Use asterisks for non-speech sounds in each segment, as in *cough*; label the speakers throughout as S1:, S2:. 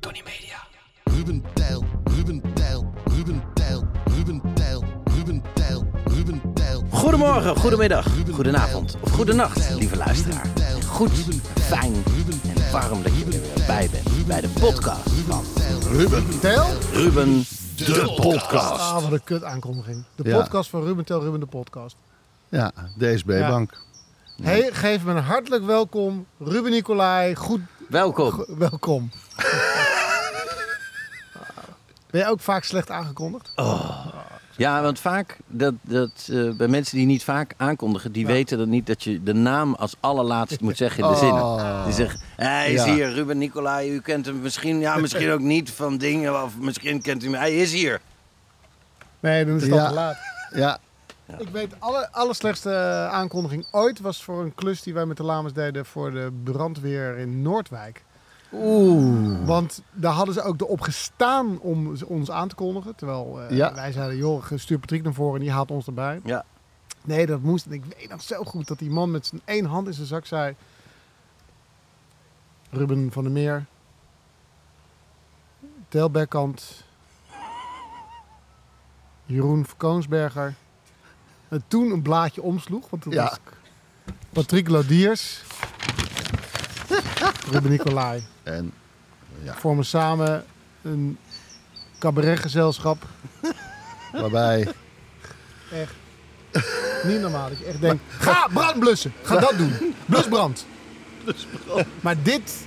S1: Tony Media.
S2: Ruben Tijl, Ruben Tijl, Ruben Tijl, Ruben Tijl, Ruben Tijl, Ruben Tijl.
S1: Goedemorgen, goedemiddag, goedenavond of goedenacht, lieve luisteraar. Goed, fijn en warm dat je er weer bij bent bij de podcast van
S3: Ruben Tel?
S1: Ruben de Podcast.
S3: Ah, wat een kut aankondiging. De
S2: Ja.
S3: podcast van Ruben Tel, Ruben de podcast.
S2: Ja, DSB-bank.
S3: Hey, geef me een hartelijk welkom. Ruben Nicolai, goed
S1: Welkom.
S2: *laughs*
S3: welkom. ben jij ook vaak slecht aangekondigd?
S2: Oh.
S1: Ja, want vaak dat, dat, eh, bij mensen die niet vaak aankondigen, die weten dat niet dat je de naam als allerlaatst moet zeggen in
S3: Oh.
S1: de zinnen. Die zeggen, hij is
S2: Ja.
S1: hier, Ruben Nicolai, u kent hem misschien, ja, misschien ook niet van dingen, of misschien kent u hem, hij is hier.
S3: Nee, dan is het al
S2: Ja.
S3: te laat.
S2: Ja,
S3: Ik weet, alle, alle slechtste aankondiging ooit was voor een klus die wij met de Lamas deden voor de brandweer in Noordwijk. Oeh. Want daar hadden ze ook erop gestaan om ze- ons aan te kondigen. Terwijl eh,
S2: Ja.
S3: wij zeiden, joh, stuur Patrick naar voren en die haalt ons erbij.
S1: Ja,
S3: Nee, dat moest. En ik weet nog zo goed dat die man met zijn één hand in zijn zak zei... Ruben van der Meer. Telberkant. Jeroen van Koonsberger. En toen een blaadje omsloeg. Want toen
S2: Ja.
S3: was Patrick Lodiers. Ruben Nicolai.
S2: en
S3: Vormen samen een cabaretgezelschap.
S2: waarbij...
S3: Echt. Niet normaal. Dat je echt denkt, ga brand blussen. Ga
S2: *laughs*
S3: dat doen. Blusbrand. Maar dit...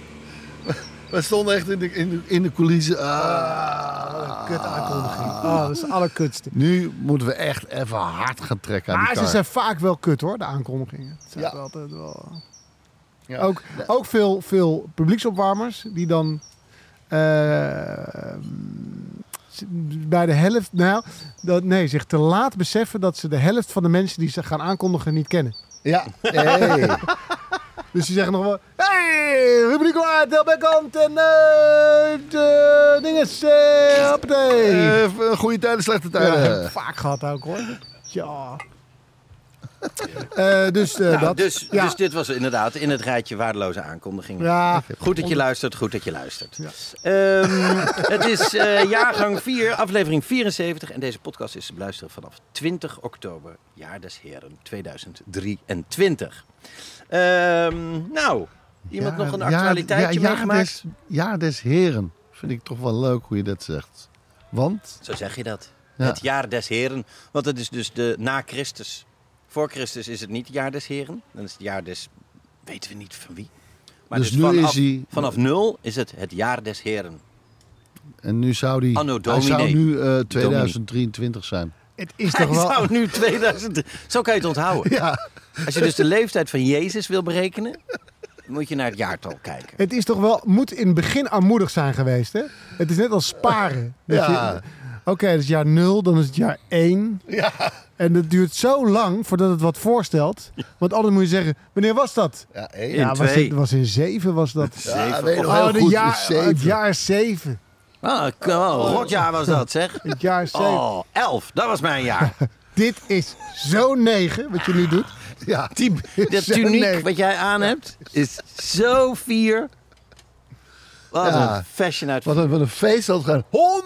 S2: We stonden echt in de, in de, in de coulissen.
S3: Wat een
S2: Ah.
S3: kut aankondiging. Oh, dat is de allerkutste.
S2: Nu moeten we echt even hard gaan trekken aan
S3: Maar
S2: die
S3: ze
S2: kar.
S3: zijn vaak wel kut hoor, de aankondigingen. Het zijn
S2: Ja.
S3: altijd wel...
S2: Ja.
S3: Ook, ook veel, veel publieksopwarmers die dan eh, bij de helft, nou, dat, nee, zich te laat beseffen dat ze de helft van de mensen die ze gaan aankondigen niet kennen.
S2: Ja, hey.
S3: Dus die zeggen nog wel... Hey, Ruben Nicolai, Delbekant en eh de dinges, eh hoppatee.
S2: Eh, goede tijden, slechte
S3: ja, dat heb
S2: tijden.
S3: ik vaak gehad ook hoor. Ja. Eh, dus eh,
S1: Nou,
S3: dat.
S1: dus,
S3: ja.
S1: dus dit was inderdaad in het rijtje waardeloze aankondigingen.
S3: ja.
S1: Goed dat je luistert, goed dat je luistert. Ehm, *laughs* het is eh, jaargang 4, aflevering 74. En deze podcast is te beluisteren vanaf 20 oktober, jaar des heren 2023. Ehm, nou, iemand nog een
S2: ja,
S1: actualiteitje
S2: dus-
S1: meegemaakt?
S2: Des, ja, des heren. Vind ik toch wel leuk hoe je dat zegt. Want,
S1: Zo zeg je dat.
S2: Ja.
S1: Het jaar des heren. Want het is dus de na Christus. Voor Christus is het niet het jaar des heren. Dan is het jaar des... weten we niet van wie. Maar
S2: Dus
S1: het
S2: nu
S1: vanaf,
S2: is hij-
S1: vanaf nul is het het jaar des heren.
S2: en nu zou die...
S1: Anno
S2: hij zou
S1: Domini.
S2: nu eh, 2023 zijn.
S3: Het is
S1: Hij
S3: toch wel...
S1: zou nu 2000... Zo kan je het onthouden.
S2: Ja,
S1: Als je dus de leeftijd van Jezus wil berekenen... moet je naar het jaartal kijken.
S3: Het is toch wel... Moet in het begin armoedig zijn geweest, hè? Het is net als sparen. Dat
S2: Ja.
S3: je- Oké, dat is jaar 0, dan is het jaar 1.
S2: ja.
S3: En dat duurt zo lang voordat het wat voorstelt. Want anders moet je zeggen, wanneer was dat?
S2: Ja, hé.
S1: In
S3: ja, was,
S1: twee.
S3: het, was in 7 was dat.
S2: Ja,
S1: Zeven.
S2: weet je nog
S3: Oh,
S2: heel
S3: de
S2: goed,
S3: jaar,
S2: zeven.
S3: het jaar 7.
S1: Ah, k- oh, rotjaar was dat, zeg.
S3: Het jaar 7.
S1: Oh, elf. Dat was mijn jaar.
S3: Dit is zo 9 wat je nu doet.
S2: Ja.
S3: *laughs*
S1: Dat
S2: Zo,
S1: tuniek
S2: nee.
S1: wat jij aan hebt is zo vier. Wat
S2: Ja.
S1: een fashion uit.
S2: Wat een, wat een feest dat gaan. 100!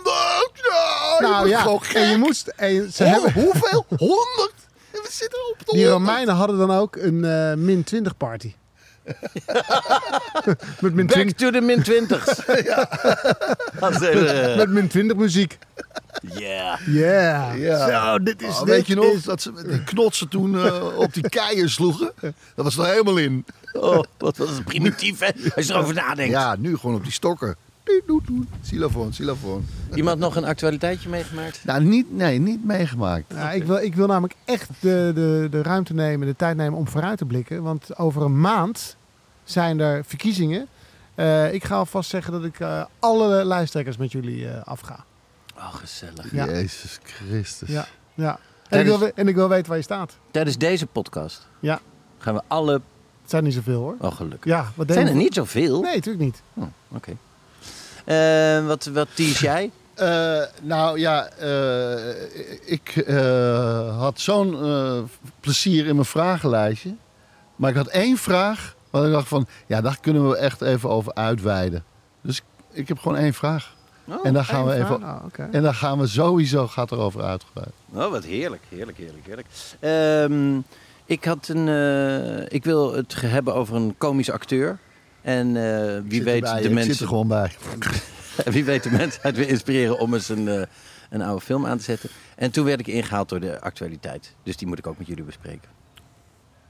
S2: Ja, je
S3: nou
S2: bent
S3: ja,
S2: gewoon
S3: en je
S2: gek.
S3: moest. En ze
S2: Ho-
S3: hebben,
S2: Hoeveel? 100? En we zitten op de
S3: die
S2: 100.
S3: Romeinen hadden dan ook een eh, min 20 party. *laughs* Met min,
S1: Back
S3: 20,
S1: to the min 20s. *laughs* ja.
S3: met min 20 muziek.
S1: eh, Yeah.
S3: Yeah.
S2: Ja.
S3: Zo, dit is...
S2: Oh,
S3: dit
S2: weet je nog
S3: is-
S2: dat ze met die knotsen toen eh, *laughs* op die keien sloegen? Dat was er helemaal in.
S1: Oh, wat was het primitief, hè? Als je erover nadenkt.
S2: Ja, nu gewoon op die stokken. Doet, doet, doet. Xylofoon, xylofoon.
S1: Iemand nog een actualiteitje meegemaakt?
S2: Nou, niet, nee, niet meegemaakt.
S3: Ja, ik, wil, ik wil namelijk echt de, de, de ruimte nemen, de tijd nemen om vooruit te blikken. Want over een maand zijn er verkiezingen. Eh, ik ga alvast zeggen dat ik eh, alle lijsttrekkers met jullie eh, afga.
S1: Oh, gezellig.
S3: Ja.
S2: Jezus Christus.
S3: Ja, ja. En,
S1: Dat
S3: ik wil,
S1: is-
S3: we- en ik wil weten waar je staat.
S1: Tijdens deze podcast
S3: Ja,
S1: gaan we alle...
S3: het zijn niet zoveel hoor.
S1: Oh, gelukkig.
S3: Ja, wat
S1: Het zijn er
S3: denk je?
S1: niet zoveel.
S3: Nee, natuurlijk niet.
S1: Oh, Oké. Eh, wat, wat tease jij?
S2: Eh, nou ja, eh, ik eh, had zo'n eh, plezier in mijn vragenlijstje. Maar ik had één vraag waar ik dacht van... Ja, daar kunnen we echt even over uitweiden. Dus ik, ik heb gewoon één vraag.
S1: Oh,
S2: en daar gaan we
S3: Eén
S2: even...
S3: vraag? Nou, oké.
S2: En daar gaan we sowieso gaat erover uitgebreid.
S1: *laughs* Oh, wat heerlijk, heerlijk, heerlijk, heerlijk. Ehm, ik had een. eh, ik wil het ge- hebben over een komisch acteur. En eh, wie,
S2: Zit
S1: weet
S2: erbij,
S1: de
S2: ik
S1: mensen,
S2: zit er gewoon bij.
S1: *laughs* wie weet de mensen uit wil inspireren om eens een, eh, een oude film aan te zetten. En toen werd ik ingehaald door de actualiteit. Dus die moet ik ook met jullie bespreken.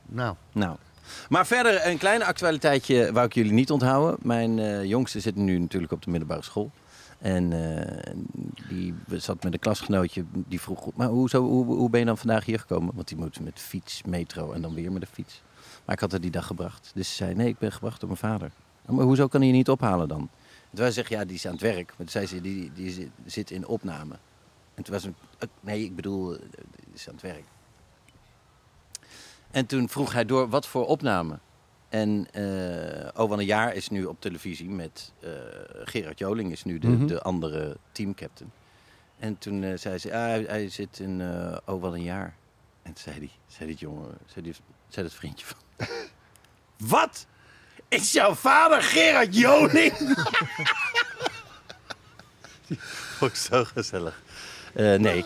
S2: Nou,
S1: Nou. Maar verder een klein actualiteitje wou ik jullie niet onthouden. Mijn eh, jongste zit nu natuurlijk op de middelbare school. En eh, die zat met een klasgenootje die vroeg... Maar hoezo, hoe, hoe ben je dan vandaag hier gekomen? Want die moet met fiets, metro en dan weer met de fiets. Maar ik had haar die dag gebracht. Dus ze zei, nee, ik ben gebracht door mijn vader. "Ja, Maar hoezo kan hij je niet ophalen dan? En toen wij zeggen, ja, die is aan het werk. Maar toen zei ze, die, die zit- zit in opname. En toen was het... Nee, ik bedoel, eh, die is aan het werk. En toen vroeg hij door wat voor opname. En eh Owen een jaar is nu op televisie met eh, Gerard Joling, is nu de, de andere teamcaptain. En toen eh, zei ze, ah, hij, hij zit in eh Oh wat een jaar. En toen zei hij, zei dit jongen, zei, die, zei dat vriendje van. *laughs* wat? Is jouw vader Gerard Joling? *laughs* Ook zo gezellig. Eh, nee,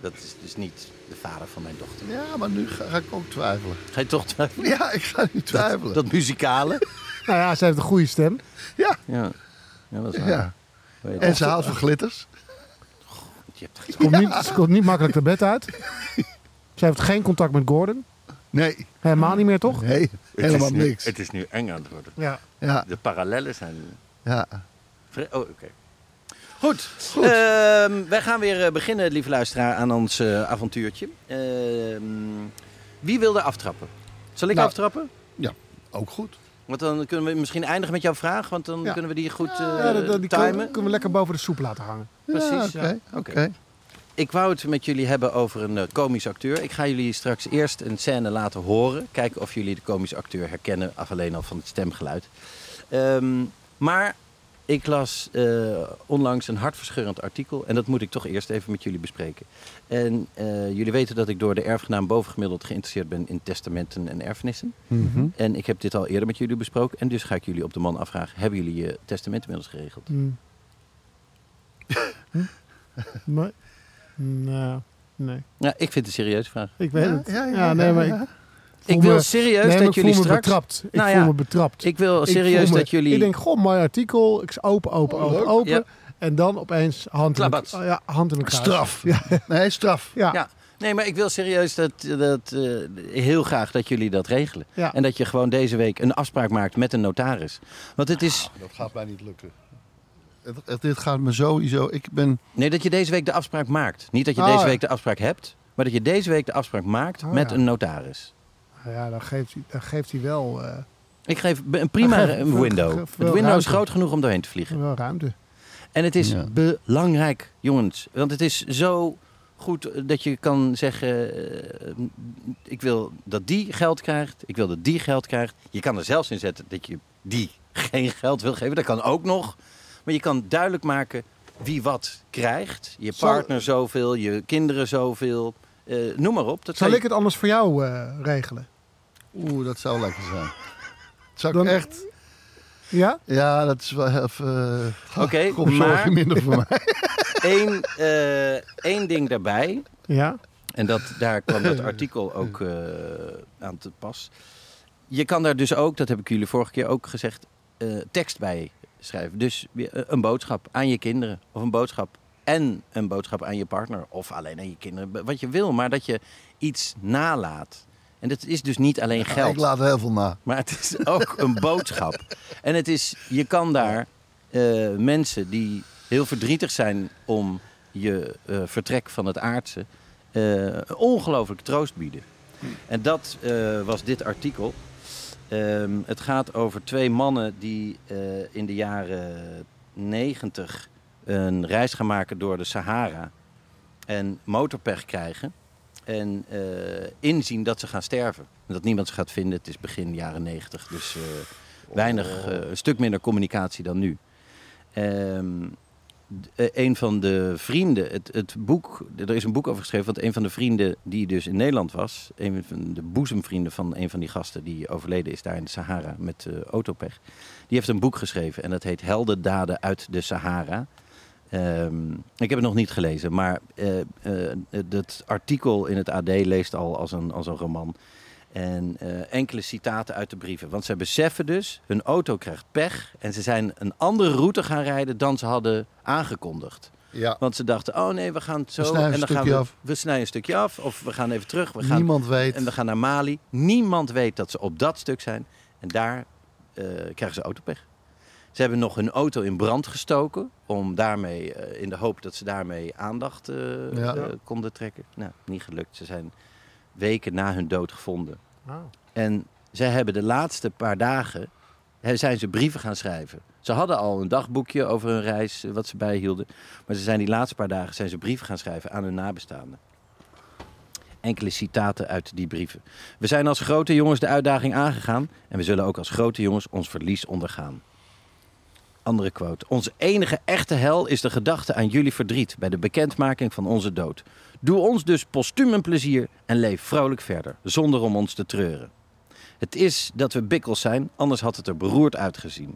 S1: dat is dus niet de vader van mijn dochter.
S2: ja, maar nu ga, ga ik ook twijfelen. *laughs*
S1: Ga je toch twijfelen?
S2: Ja, ik ga nu twijfelen.
S1: Dat muzikale.
S3: Nou ja, ze heeft een goede stem.
S2: ja,
S1: *laughs* Ja, ja dat is waar.
S2: ja.
S1: Weet je,
S2: En ze haalt van glitters.
S1: je hebt het
S3: Komt niet, ze komt niet makkelijk te bed uit. Ze heeft geen contact met Gordon.
S2: Nee,
S3: Helemaal niet meer, toch?
S2: nee *laughs* helemaal
S1: is nu-
S2: niks.
S1: het is nu eng aan het worden.
S3: Ja.
S2: Ja,
S1: De parallellen zijn...
S2: ja.
S1: vre- Oh, oké. Goed. Ehm, wij gaan weer eh, beginnen, lieve luisteraar, aan ons eh, avontuurtje. Ehm, wie wil er aftrappen? Zal ik
S2: Nou.
S1: aftrappen?
S2: ja, ook goed.
S1: Want dan kunnen we misschien eindigen met jouw vraag, want dan
S3: Ja.
S1: kunnen we die goed eh
S3: Ja, dat, dat- die kunnen,
S1: timen.
S3: kunnen we lekker boven de soep laten hangen.
S1: Precies,
S2: Ja,
S1: ja.
S2: Oké,
S1: Oké.
S2: oké.
S1: Ik wou het met jullie hebben over een eh, komisch acteur. Ik ga jullie straks eerst een scène laten horen. Kijken of jullie de komisch acteur herkennen, af alleen al van het stemgeluid. Ehm, maar ik las eh, onlangs een hartverscheurend artikel. En dat moet ik toch eerst even met jullie bespreken. En eh, jullie weten dat ik door de erfgenaam bovengemiddeld geïnteresseerd ben in testamenten en erfenissen.
S3: Mhm.
S1: En ik heb dit al eerder met jullie besproken. En dus ga ik jullie op de man afvragen: hebben jullie je testament inmiddels geregeld?
S3: Mm. Nee. Nou, nee.
S1: Nou, ik vind het een serieuze vraag.
S3: Ik weet
S2: Ja,
S3: het.
S2: ja,
S3: Ja,
S2: ja,
S3: nee,
S2: ja,
S3: maar ik,
S2: ja.
S3: voel
S1: Ik wil
S3: me-
S1: serieus
S3: nee, maar
S1: dat
S3: ik
S1: jullie
S3: voel me
S1: straks.
S3: betrapt. Ik
S1: Nou ja,
S3: voel me betrapt.
S1: Ik wil
S3: voel
S1: serieus
S3: me-
S1: dat jullie.
S3: Ik denk, goh, mooi artikel. Ik open, open,
S2: Oh,
S3: open,
S2: leuk.
S3: open.
S1: Ja.
S3: En dan opeens hand in,
S1: Klabats.
S3: oh ja, hand in elkaar.
S2: Straf.
S3: Ja,
S2: Nee, straf.
S3: ja.
S1: ja. Nee, maar ik wil serieus dat, dat eh, heel graag dat jullie dat regelen.
S3: Ja.
S1: En dat je gewoon deze week een afspraak maakt met een notaris. Want het is.
S2: Dat gaat mij niet lukken. Het, het- dit gaat me sowieso. Ik ben.
S1: Nee, dat je deze week de afspraak maakt. Niet dat je
S3: Oh,
S1: deze
S3: ja.
S1: week de afspraak hebt, maar dat je deze week de afspraak maakt
S3: Oh,
S1: met
S3: ja.
S1: een notaris.
S3: Nou ja, dan geeft, hij- dan geeft hij wel, eh,
S1: Ik geef be- een prima
S3: Geef-
S1: eh, window.
S3: geef wel
S1: Het window is
S3: ruimte.
S1: groot genoeg om doorheen te vliegen.
S3: wel ruimte.
S1: En het is
S2: Ja.
S1: belangrijk, jongens. Want het is zo goed eh, dat je kan zeggen... eh, ik wil dat die geld krijgt. Ik wil dat die geld krijgt. Je kan er zelfs in zetten dat je die geen geld wil geven. Dat kan ook nog. Maar je kan duidelijk maken wie wat krijgt. Je
S3: Zal-
S1: partner zoveel, je kinderen zoveel. Eh, noem maar op. Dat
S3: Zal
S1: kan
S3: ik het anders voor jou eh, regelen?
S2: Oeh, dat zou lekker zijn. Zou
S3: Dan-
S2: ik echt.
S3: Ja?
S2: Ja, dat is wel even. eh,
S1: Oké,
S2: kom zorg je
S1: maar-
S2: minder voor mij.
S1: één, eh, één ding daarbij.
S3: Ja.
S2: *laughs*
S1: En dat, daar kwam dat artikel ook eh, aan te pas. je kan daar dus ook, dat heb ik jullie vorige keer ook gezegd, eh, tekst bij schrijven. Dus eh, een boodschap aan je kinderen of een boodschap en een boodschap aan je partner of alleen aan je kinderen. B- Wat je wil, maar dat je iets nalaat. En dat is dus niet alleen
S2: Ik
S1: *laughs* geld,
S2: laat heel veel na.
S1: maar het is ook een boodschap. En het is, je kan daar eh, mensen die heel verdrietig zijn om je eh, vertrek van het aardse, eh, een ongelooflijk troost bieden. En dat eh, was dit artikel. Ehm, het gaat over twee mannen die eh, in de jaren 90 een reis gaan maken door de Sahara. En motorpech krijgen. En eh, inzien dat ze gaan sterven. En dat niemand ze gaat vinden. Het is begin jaren 90. Dus eh, weinig, eh, een stuk minder communicatie dan nu. Ehm, d- eh, een van de vrienden, het, het boek, er is een boek over geschreven, want een van de vrienden die dus in Nederland was, een van de boezemvrienden van een van die gasten die overleden is daar in de Sahara met eh, autopech, die heeft een boek geschreven en dat heet Heldendaden uit de Sahara. Ehm, ik heb het nog niet gelezen, maar eh, eh, dat artikel in het AD leest al als een, als een roman. En eh, enkele citaten uit de brieven. Want ze beseffen dus, hun auto krijgt pech. En ze zijn een andere route gaan rijden dan ze hadden aangekondigd.
S2: Ja.
S1: Want ze dachten, oh nee, we gaan het zo.
S2: snijden een
S1: en dan gaan
S2: stukje
S1: we,
S2: af.
S1: we snijden een stukje af. Of we gaan even terug. We gaan,
S2: Niemand weet.
S1: En we gaan naar Mali. Niemand weet dat ze op dat stuk zijn. En daar eh, krijgen ze autopech. Ze hebben nog hun auto in brand gestoken. Om daarmee, eh, in de hoop dat ze daarmee aandacht eh,
S2: Ja.
S1: eh, konden trekken. Nou, niet gelukt. Ze zijn weken na hun dood gevonden.
S3: Ah.
S1: En zij hebben de laatste paar dagen hè, zijn ze brieven gaan schrijven. Ze hadden al een dagboekje over hun reis, eh, wat ze bijhielden. Maar ze zijn die laatste paar dagen zijn ze brieven gaan schrijven aan hun nabestaanden. Enkele citaten uit die brieven. We zijn als grote jongens de uitdaging aangegaan en we zullen ook als grote jongens ons verlies ondergaan. Andere quote. Onze enige echte hel is de gedachte aan jullie verdriet bij de bekendmaking van onze dood. Doe ons dus postuum een plezier en leef vrolijk verder, zonder om ons te treuren. Het is dat we bikkels zijn, anders had het er beroerd uitgezien.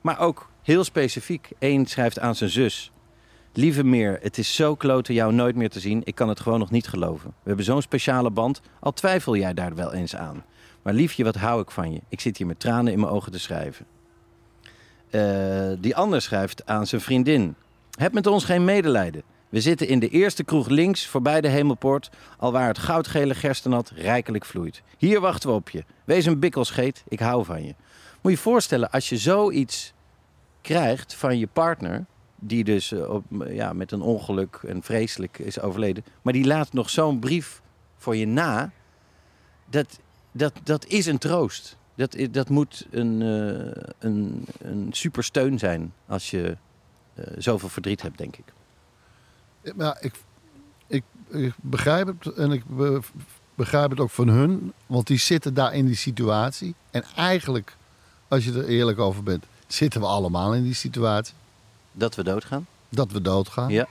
S1: Maar ook heel specifiek, één schrijft aan zijn zus. Lieve Meer, het is zo klote jou nooit meer te zien. Ik kan het gewoon nog niet geloven. We hebben zo'n speciale band, al twijfel jij daar wel eens aan. Maar liefje, wat hou ik van je? Ik zit hier met tranen in mijn ogen te schrijven. Eh, die ander schrijft aan zijn vriendin. Heb met ons geen medelijden. We zitten in de eerste kroeg links voorbij de hemelpoort, al waar het goudgele gerstenat rijkelijk vloeit. Hier wachten we op je. Wees een bikkelscheet, ik hou van je. Moet je je voorstellen, als je zoiets krijgt van je partner, die dus eh, op, ja, met een ongeluk en vreselijk is overleden, maar die laat nog zo'n brief voor je na, dat, dat, dat is een troost. Dat, i- dat moet een, eh, een, een supersteun zijn als je eh, zoveel verdriet hebt, denk ik.
S2: Maar ik, ik, ik begrijp het en ik be- begrijp het ook van hun, want die zitten daar in die situatie. En eigenlijk, als je er eerlijk over bent, zitten we allemaal in die situatie
S1: Dat we doodgaan.
S2: dat we doodgaan.
S1: Ja.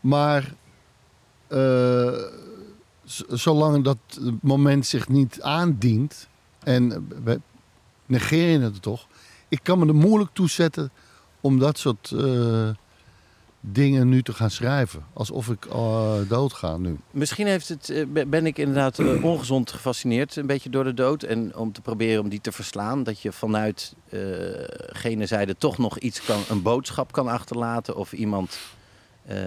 S2: Maar eh, z- zolang dat moment zich niet aandient, en we negeren het toch, ik kan me er moeilijk toe zetten om dat soort eh, dingen nu te gaan schrijven. Alsof ik eh, doodga nu.
S1: Misschien heeft het, eh, be- ben ik inderdaad eh, ongezond gefascineerd, een beetje door de dood. En om te proberen om die te verslaan, dat je vanuit eh gene zijde toch nog iets kan, een boodschap kan achterlaten. Of iemand eh,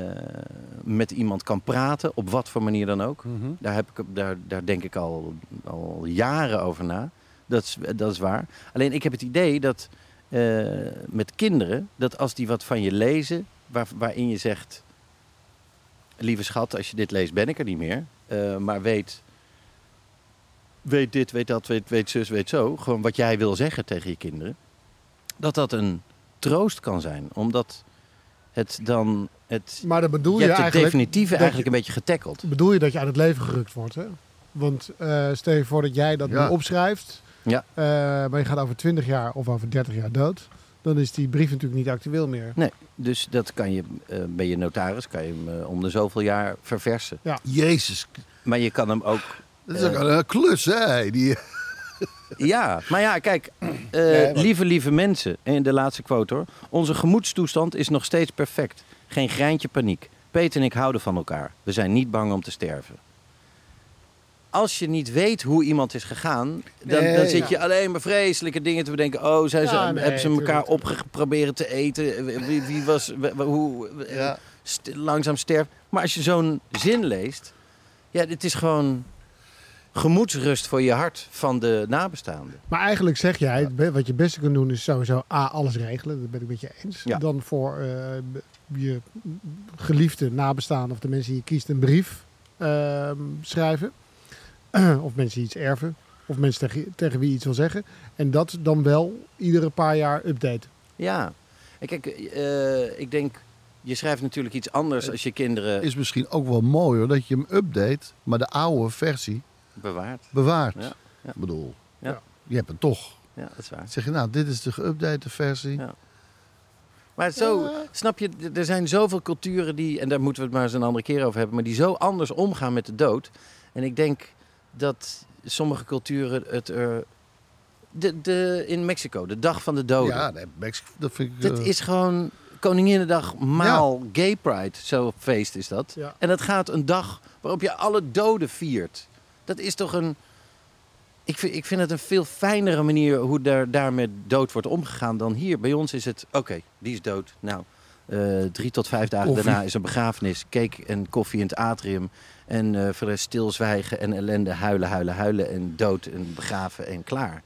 S1: met iemand kan praten, op wat voor manier dan ook. Daar, heb ik, daar, daar denk ik al, al jaren over na. Dat is, dat is waar. Alleen ik heb het idee dat eh, met kinderen, dat als die wat van je lezen, waar, waarin je zegt lieve schat, als je dit leest ben ik er niet meer. Eh, maar weet, weet dit, weet dat, weet, weet zus, weet zo. Gewoon wat jij wil zeggen tegen je kinderen. Dat dat een troost kan zijn. Omdat het dan... Het,
S3: Maar dat bedoel
S1: je
S3: je,
S1: hebt het
S3: eigenlijk...
S1: definitieve
S3: dat-
S1: eigenlijk een beetje getackled.
S3: bedoel je dat je uit het leven gerukt wordt, hè? Want eh, stel je voor dat jij dat
S2: Ja.
S3: nu opschrijft,
S1: Ja.
S3: eh, maar je gaat over 20 jaar of over 30 jaar dood, dan is die brief natuurlijk niet actueel meer.
S1: Nee, dus dat kan je, eh ben je notaris, kan je hem eh, om de zoveel jaar verversen.
S2: Jezus,
S1: Maar je kan hem ook...
S3: *laughs*
S2: dat is ook een eh, klus, hè? Die,
S1: Ja, maar ja, kijk, eh,
S2: maar-
S1: lieve, lieve mensen, en de laatste quote hoor. Onze gemoedstoestand is nog steeds perfect. Geen greintje paniek. Peter en ik houden van elkaar. We zijn niet bang om te sterven. als je niet weet hoe iemand is gegaan, dan,
S3: Nee.
S1: dan zit je
S3: Ja.
S1: alleen maar vreselijke dingen te bedenken. Oh, zijn ze,
S3: Ja, nee,
S1: hebben ze elkaar
S3: tuurlijk.
S1: opgeprobeerd te eten? Eh, Wie, wie was, w- w- hoe eh,
S2: Ja.
S1: st- langzaam sterft? Maar als je zo'n zin leest, ja, dit is gewoon gemoedsrust voor je hart van de nabestaanden.
S3: Maar eigenlijk zeg jij, het be- wat je het beste kunt doen is sowieso A, alles regelen. Dat ben ik met je eens.
S1: Ja.
S3: Dan voor eh, b- je geliefde nabestaanden of de mensen die je kiest een brief ehm, schrijven. of mensen die iets erven. Of mensen tegen, tegen wie iets wil zeggen. En dat dan wel iedere paar jaar updaten.
S1: Ja. En kijk, eh, ik denk, je schrijft natuurlijk iets anders als je kinderen
S2: Is misschien ook wel mooi hoor, dat je hem update, maar de oude versie
S1: bewaart.
S2: bewaart.
S1: Ja, ja.
S2: Ik bedoel,
S1: Ja.
S2: je hebt het toch.
S1: Ja, dat is waar.
S2: Dan zeg je, nou, dit is de geüpdate versie.
S1: Ja. Maar zo, snap je, d- er zijn zoveel culturen die, en daar moeten we het maar eens een andere keer over hebben, maar die zo anders omgaan met de dood. En ik denk dat sommige culturen het er. De, de, in Mexico, de dag van de doden.
S2: Ja, nee, Max, dat vind ik...
S1: dat
S2: eh,
S1: Oh, is gewoon Koninginnedag maal Gay Pride, zo'n feest is dat.
S3: Ja.
S1: En dat gaat een dag waarop je alle doden viert. Dat is toch een... Ik vind, ik vind het een veel fijnere manier hoe daar, daar met dood wordt omgegaan dan hier. Bij ons is het, oké, die is dood. Nou, eh, drie tot vijf dagen
S2: Koffie.
S1: daarna is een begrafenis. Cake en koffie in het atrium. En eh voor de rest stilzwijgen en ellende, huilen, huilen, huilen. En dood en begraven en klaar.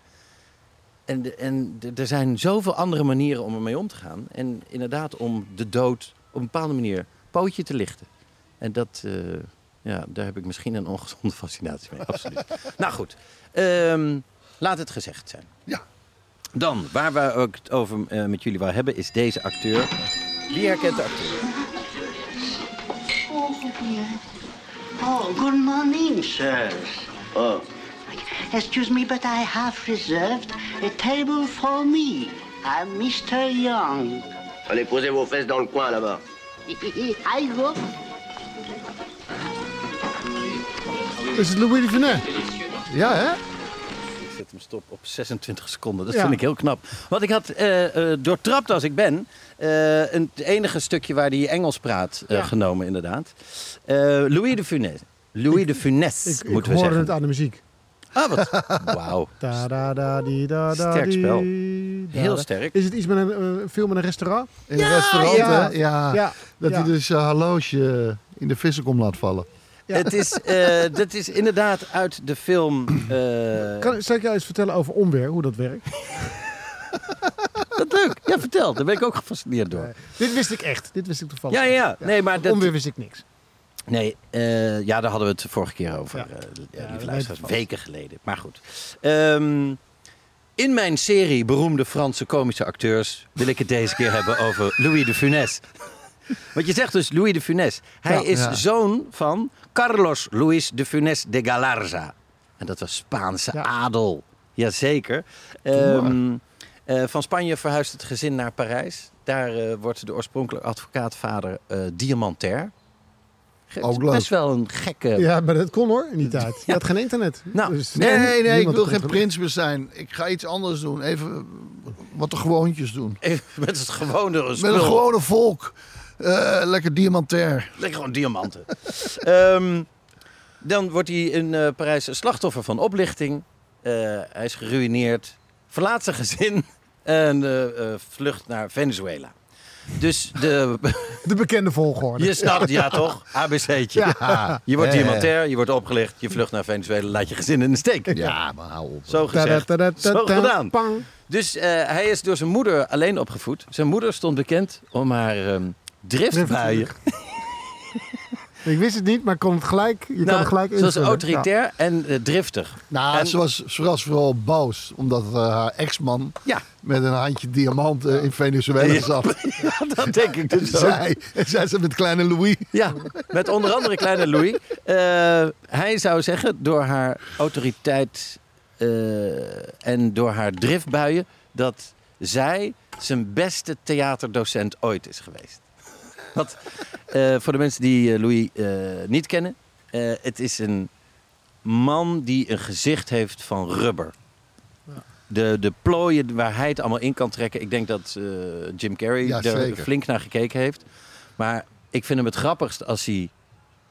S1: En, de- en de- er zijn zoveel andere manieren om ermee om te gaan. En inderdaad, om de dood op een bepaalde manier pootje te lichten. En dat, eh, ja, daar heb ik misschien een ongezonde fascinatie mee. Absoluut. nou goed, ehm, laat het gezegd zijn.
S2: Ja.
S1: Dan, waar we ook het over eh, met jullie wou hebben, is deze acteur. Wie herkent de acteur?
S4: Oh, good morning, sirs. Oh. Excuse me, but I have reserved a table for me. I'm Mr. Young.
S5: Allez, posez vos fesses dans le coin là-bas.
S4: I go.
S3: Is het Louis de Funès?
S2: Ja, hè?
S1: Ik zet hem stop op 26 seconden. Dat
S3: Ja.
S1: vind ik heel knap. Want ik had, eh, eh, doortrapt als ik ben, eh, een, het enige stukje waar hij Engels praat eh,
S3: Ja.
S1: genomen, inderdaad. Eh, Louis de Funès. Louis de Funès,
S3: Ik, ik
S1: moeten
S3: hoorde
S1: we zeggen.
S3: het aan de muziek.
S1: Ah, wat.
S3: *laughs*
S1: Wauw.
S3: Da, da, da, die, da, da,
S1: Sterk
S3: die,
S1: spel.
S3: da,
S1: Heel
S3: da.
S1: sterk.
S3: Is het iets met een eh, film in een restaurant?
S2: In
S1: nou
S2: een restaurant,
S3: ja.
S2: hè? Ja. Dat
S3: ja.
S2: hij dus zijn horloge in de vissenkom laat vallen.
S3: Ja.
S1: Het is, eh, dat is inderdaad uit de film. eh,
S3: Kan, zal ik jou eens vertellen over onweer, hoe dat
S1: *laughs*
S3: werkt?
S1: Wat leuk. Ja, vertel. Daar ben ik ook gefascineerd door.
S3: Nee. Eh, Dit wist ik echt. Dit wist ik toevallig.
S1: Ja, ja, ja. Nee, maar dat-
S3: Onweer wist ik niks.
S1: Nee, eh, ja, daar hadden we het vorige keer over,
S3: Ja.
S1: eh, lieve
S3: Ja, dat
S1: luisteraars.
S3: weet ik wel.
S1: Weken geleden. Maar goed. Ehm, in mijn serie beroemde Franse komische acteurs wil ik het deze keer hebben over Louis de Funès. *laughs* Want je zegt dus Louis de Funès. Hij
S3: Ja.
S1: is
S2: Ja.
S1: zoon van Carlos Luis de Funès de Galarza. En dat was Spaanse
S3: Ja.
S1: adel. Jazeker. Ehm, eh, van Spanje verhuist het gezin naar Parijs. Daar eh, wordt de oorspronkelijke advocaatvader eh diamantair. Ge-
S2: Ook
S1: is
S2: leuk.
S1: best wel een gekke...
S3: Ja, maar dat kon hoor, in die tijd. Je
S1: Ja.
S3: had geen internet. Dus
S1: Nou,
S2: Nee, nee,
S3: niemand
S2: ik wil
S3: kon
S2: geen
S3: het
S2: prins meer zijn. Ik ga iets anders doen. Even eh, wat de gewoontjes doen.
S1: *laughs* Met het gewone
S2: Met
S1: spul.
S2: het gewone volk. Eh, lekker diamantair.
S1: Lekker gewoon diamanten. *laughs* Ehm, dan wordt hij in eh, Parijs een slachtoffer van oplichting. Eh, hij is geruineerd. Verlaat zijn gezin. *laughs* En eh, eh, vlucht naar Venezuela. Dus de, *laughs*
S3: doen. *laughs* De bekende volgorde.
S1: je snapt, ja toch? ABC'tje. Je wordt
S2: Ja, ja.
S1: diamantair, je wordt opgelicht, je vlucht naar Venezuela, laat je gezin in de
S2: *laughs*
S1: steek.
S2: Ja, maar hou op.
S1: Zo
S3: Ta-
S1: gezegd,
S3: ta- ta- ta-
S1: zo
S3: ta-
S1: gedaan.
S3: Pang.
S1: Dus eh, hij is door zijn moeder alleen opgevoed. Zijn moeder stond bekend om haar ehm driftbuien.
S3: Ik wist het niet, maar ik kon het gelijk. Je kan
S1: Nou,
S3: het gelijk
S1: ze was
S3: invullen.
S1: autoritair en eh, driftig.
S2: Nou,
S1: En-
S2: ze, was, ze was vooral boos. Omdat eh, haar ex-man
S1: Ja. *laughs*
S2: met een handje diamanten in Venezuela zat.
S1: Ja, dat denk ik dus ook.
S2: Zij, en zij zat met kleine Louis.
S1: Ja, met onder andere kleine Louis. Eh, hij zou zeggen, door haar autoriteit eh, en door haar driftbuien... dat zij zijn beste theaterdocent ooit is geweest. *laughs* Want eh, voor de mensen die eh, Louis eh, niet kennen... eh, het is een man die een gezicht heeft van rubber. De, de plooien waar hij het allemaal in kan trekken. Ik denk dat eh, Jim Carrey
S2: Ja,
S1: er
S2: zeker.
S1: flink naar gekeken heeft. Maar ik vind hem het grappigst als hij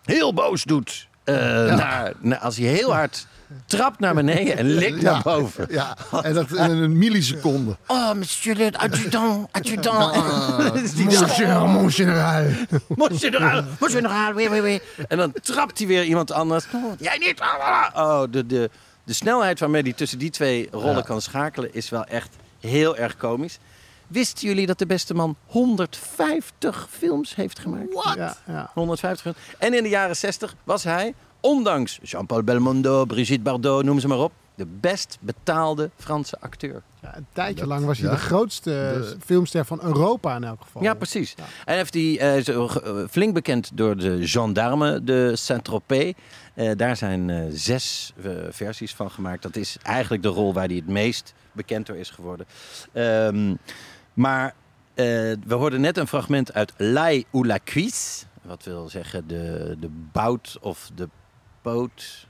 S1: heel boos doet. eh, naar, naar- als hij heel hard trapt naar beneden en likt naar boven.
S2: Ja, en dat in een milliseconde.
S1: Oh, monsieur le adjudant, adjudant. *laughs* Dat is die
S3: Monsieur, mon général.
S1: *laughs* Mon generaal, mon generaal, wee, wee, wee. En dan trapt hij weer iemand anders. Jij niet. ah, ah, ah. Oh, de, de, de snelheid waarmee hij tussen die twee rollen kan schakelen is wel echt heel erg komisch. Wisten jullie dat de beste man 150 films heeft gemaakt? Wat?
S3: Ja, ja.
S1: 150 films. En in de jaren 60 was hij, ondanks Jean-Paul Belmondo, Brigitte Bardot, noem ze maar op, de best betaalde Franse acteur.
S3: Ja, een tijdje lang was hij de grootste filmster van Europa in elk geval.
S1: Ja, precies. En heeft hij eh, zo, eh, flink bekend door de gendarme de Saint-Tropez. Eh, daar zijn eh, zes eh, versies van gemaakt. Dat is eigenlijk de rol waar hij het meest bekend door is geworden. Ehm, maar eh, we hoorden net een fragment uit L'Aille ou la cuisse. Wat wil zeggen de, de bout of de poot.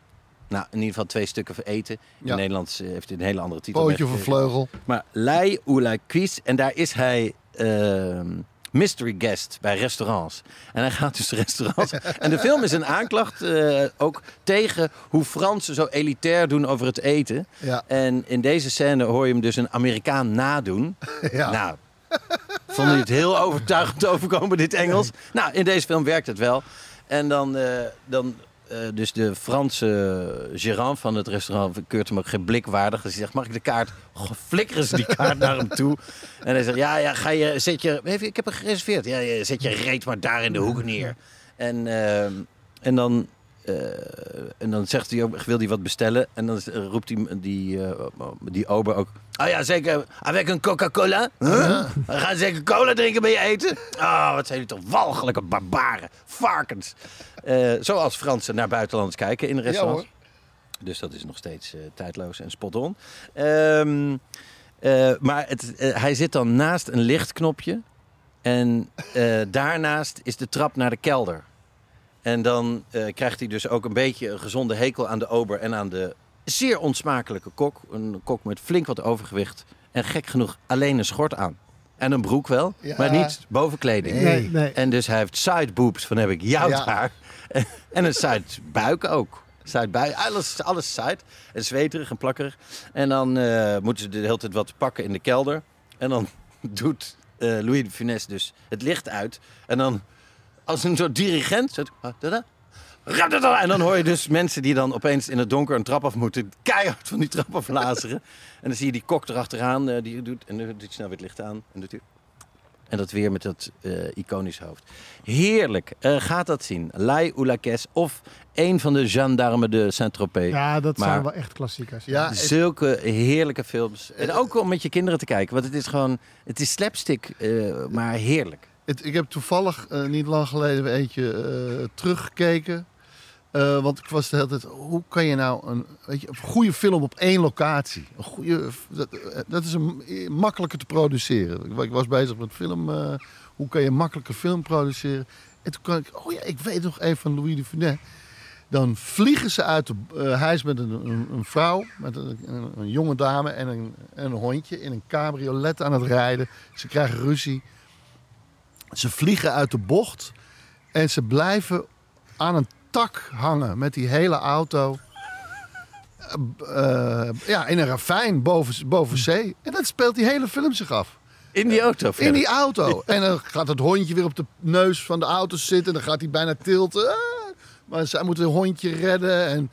S1: Nou, in ieder geval twee stukken voor eten. In
S2: Ja.
S1: het Nederlands eh, heeft hij een hele andere titel. Eh,
S2: Pootje of een
S1: meegegeven.
S2: vleugel.
S1: Maar Lai Oula Quiz, en daar is hij ehm, mystery guest bij restaurants. En hij gaat dus *laughs* restaurants. en de film is een aanklacht eh, ook tegen hoe Fransen zo elitair doen over het eten.
S2: Ja.
S1: En in deze scène hoor je hem dus een Amerikaan nadoen.
S2: Ja.
S1: Nou, vonden jullie het heel overtuigend overkomen, dit Engels? Nou, in deze film werkt het wel. En dan, eh, dan eh, dus de Franse gerant van het restaurant keurt hem ook geen blik waardig. Dus hij zegt, mag ik de kaart? Goh, Flikkeren ze die kaart naar hem toe. En hij zegt, ja, ja, ga je, zet je, even, ik heb hem gereserveerd. Ja, ja, zet je reet maar daar in de hoek neer. En, eh, en dan... eh, en dan zegt hij ook, wil hij wat bestellen? En dan eh, roept die, die, eh, die ober ook... Ah ja, zeker. Avec een Coca-Cola? Huh? We gaan zeker cola drinken bij je eten? Oh, wat zijn jullie toch walgelijke barbaren. Varkens. Eh, zoals Fransen naar buitenlanders kijken in restaurants. dus dat is nog steeds eh, tijdloos en spot-on. Ehm, eh, maar het, eh, hij zit dan naast een lichtknopje. En eh, daarnaast is de trap naar de kelder. En dan eh, krijgt hij dus ook een beetje een gezonde hekel aan de ober en aan de zeer onsmakelijke kok. Een kok met flink wat overgewicht en gek genoeg alleen een schort aan. En een broek wel,
S2: Ja.
S1: maar niet bovenkleding.
S3: Nee, nee.
S1: En dus hij heeft side boobs, van heb ik jouw
S2: Ja.
S1: haar. *laughs* en een side buik ook. Side buik, alles, alles side. En zweterig en plakkerig. En dan eh, moeten ze de hele tijd wat pakken in de kelder. En dan *laughs* doet eh, Louis de Funès dus het licht uit. En dan als een soort dirigent. Zo, ah, da, da. Rap, da, da. En dan hoor je dus mensen die dan opeens in het donker een trap af moeten. Keihard van die trap aflazeren. En dan zie je die kok erachteraan. eh, die doet, en dan doet hij snel weer het licht aan. En doet hij... En dat weer met dat eh, iconisch hoofd. Heerlijk. Eh, gaat dat zien. Lai Oulakes of een van de gendarmes de Saint-Tropez.
S3: Ja, dat
S1: Maar-
S3: zijn wel echt klassiekers.
S2: Ja, het-
S1: Zulke heerlijke films. En ook om met je kinderen te kijken. Want het is gewoon... Het is slapstick, eh, maar heerlijk.
S2: Het- ik heb toevallig eh, niet lang geleden weer eentje eh, teruggekeken. Eh, want ik was de hele tijd, hoe kan je nou een, weet je, een goede film op één locatie? Een goede, dat, eh, dat is een, makkelijker te produceren. Ik, wa- ik was bezig met film, eh, hoe kan je een makkelijke film produceren? En toen kan ik, oh ja, ik weet nog even van Louis de Funès. Dan vliegen ze uit de. eh, hij is met een, een, een vrouw, met een, een, een jonge dame en een, en een hondje in een cabriolet aan het rijden. Ze krijgen ruzie. Ze vliegen uit de bocht en ze blijven aan een tak hangen met die hele auto. Eh, b- eh, ja, in een ravijn boven, boven zee. En dat speelt die hele film zich af.
S1: Eh, In die auto.
S2: In
S1: verder.
S2: die auto. En dan gaat het hondje weer op de neus van de auto zitten. En dan gaat hij bijna tilten. Ah, Maar zij moeten het hondje redden. En,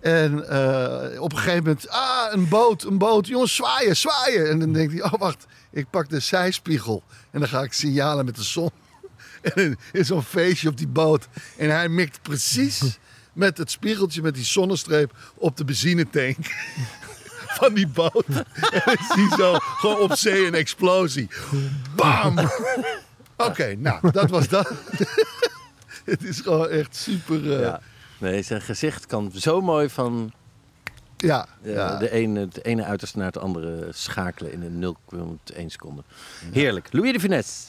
S2: en eh, op een gegeven moment... Ah, een boot, een boot. Jongens, zwaaien, zwaaien. En dan denkt hij... Oh, wacht. Ik pak de zijspiegel. En dan ga ik signalen met de zon. *laughs* En in zo'n feestje op die boot. En hij mikt precies met het spiegeltje met die zonnestreep op de benzinetank *laughs* van die boot. En dan zie je zo gewoon op zee een explosie. Bam! Oké, nou, dat was dat. *laughs* Het is gewoon echt super... eh,
S1: Ja. Nee, zijn gezicht kan zo mooi van
S2: ja,
S1: eh,
S2: ja.
S1: de ene, het ene uiterste naar het andere schakelen in een 0,1 seconde. Heerlijk. Louis de Funès.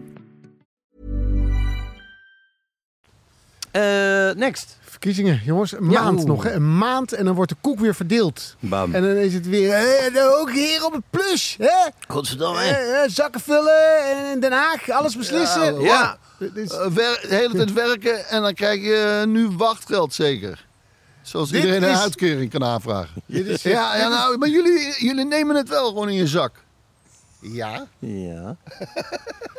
S1: Eh, next.
S3: Verkiezingen, jongens. Een maand
S1: oeh.
S3: nog, hè? Een maand en dan wordt de koek weer verdeeld.
S1: Bam.
S3: En dan is het weer, eh, ook hier op het plus, hè?
S1: Godverdomme.
S3: Eh, eh, zakken vullen en in Den Haag, alles beslissen.
S2: Ja,
S3: Oh,
S1: oh, Ja.
S3: Dit is-
S2: Eh, wer- de hele tijd werken en dan krijg je eh, nu wachtgeld zeker. Zoals
S3: Dit
S2: iedereen
S3: is-
S2: een uitkering kan *laughs* aanvragen. ja, ja, nou, maar jullie, jullie nemen het wel gewoon in je zak. Ja.
S1: Ja. *laughs*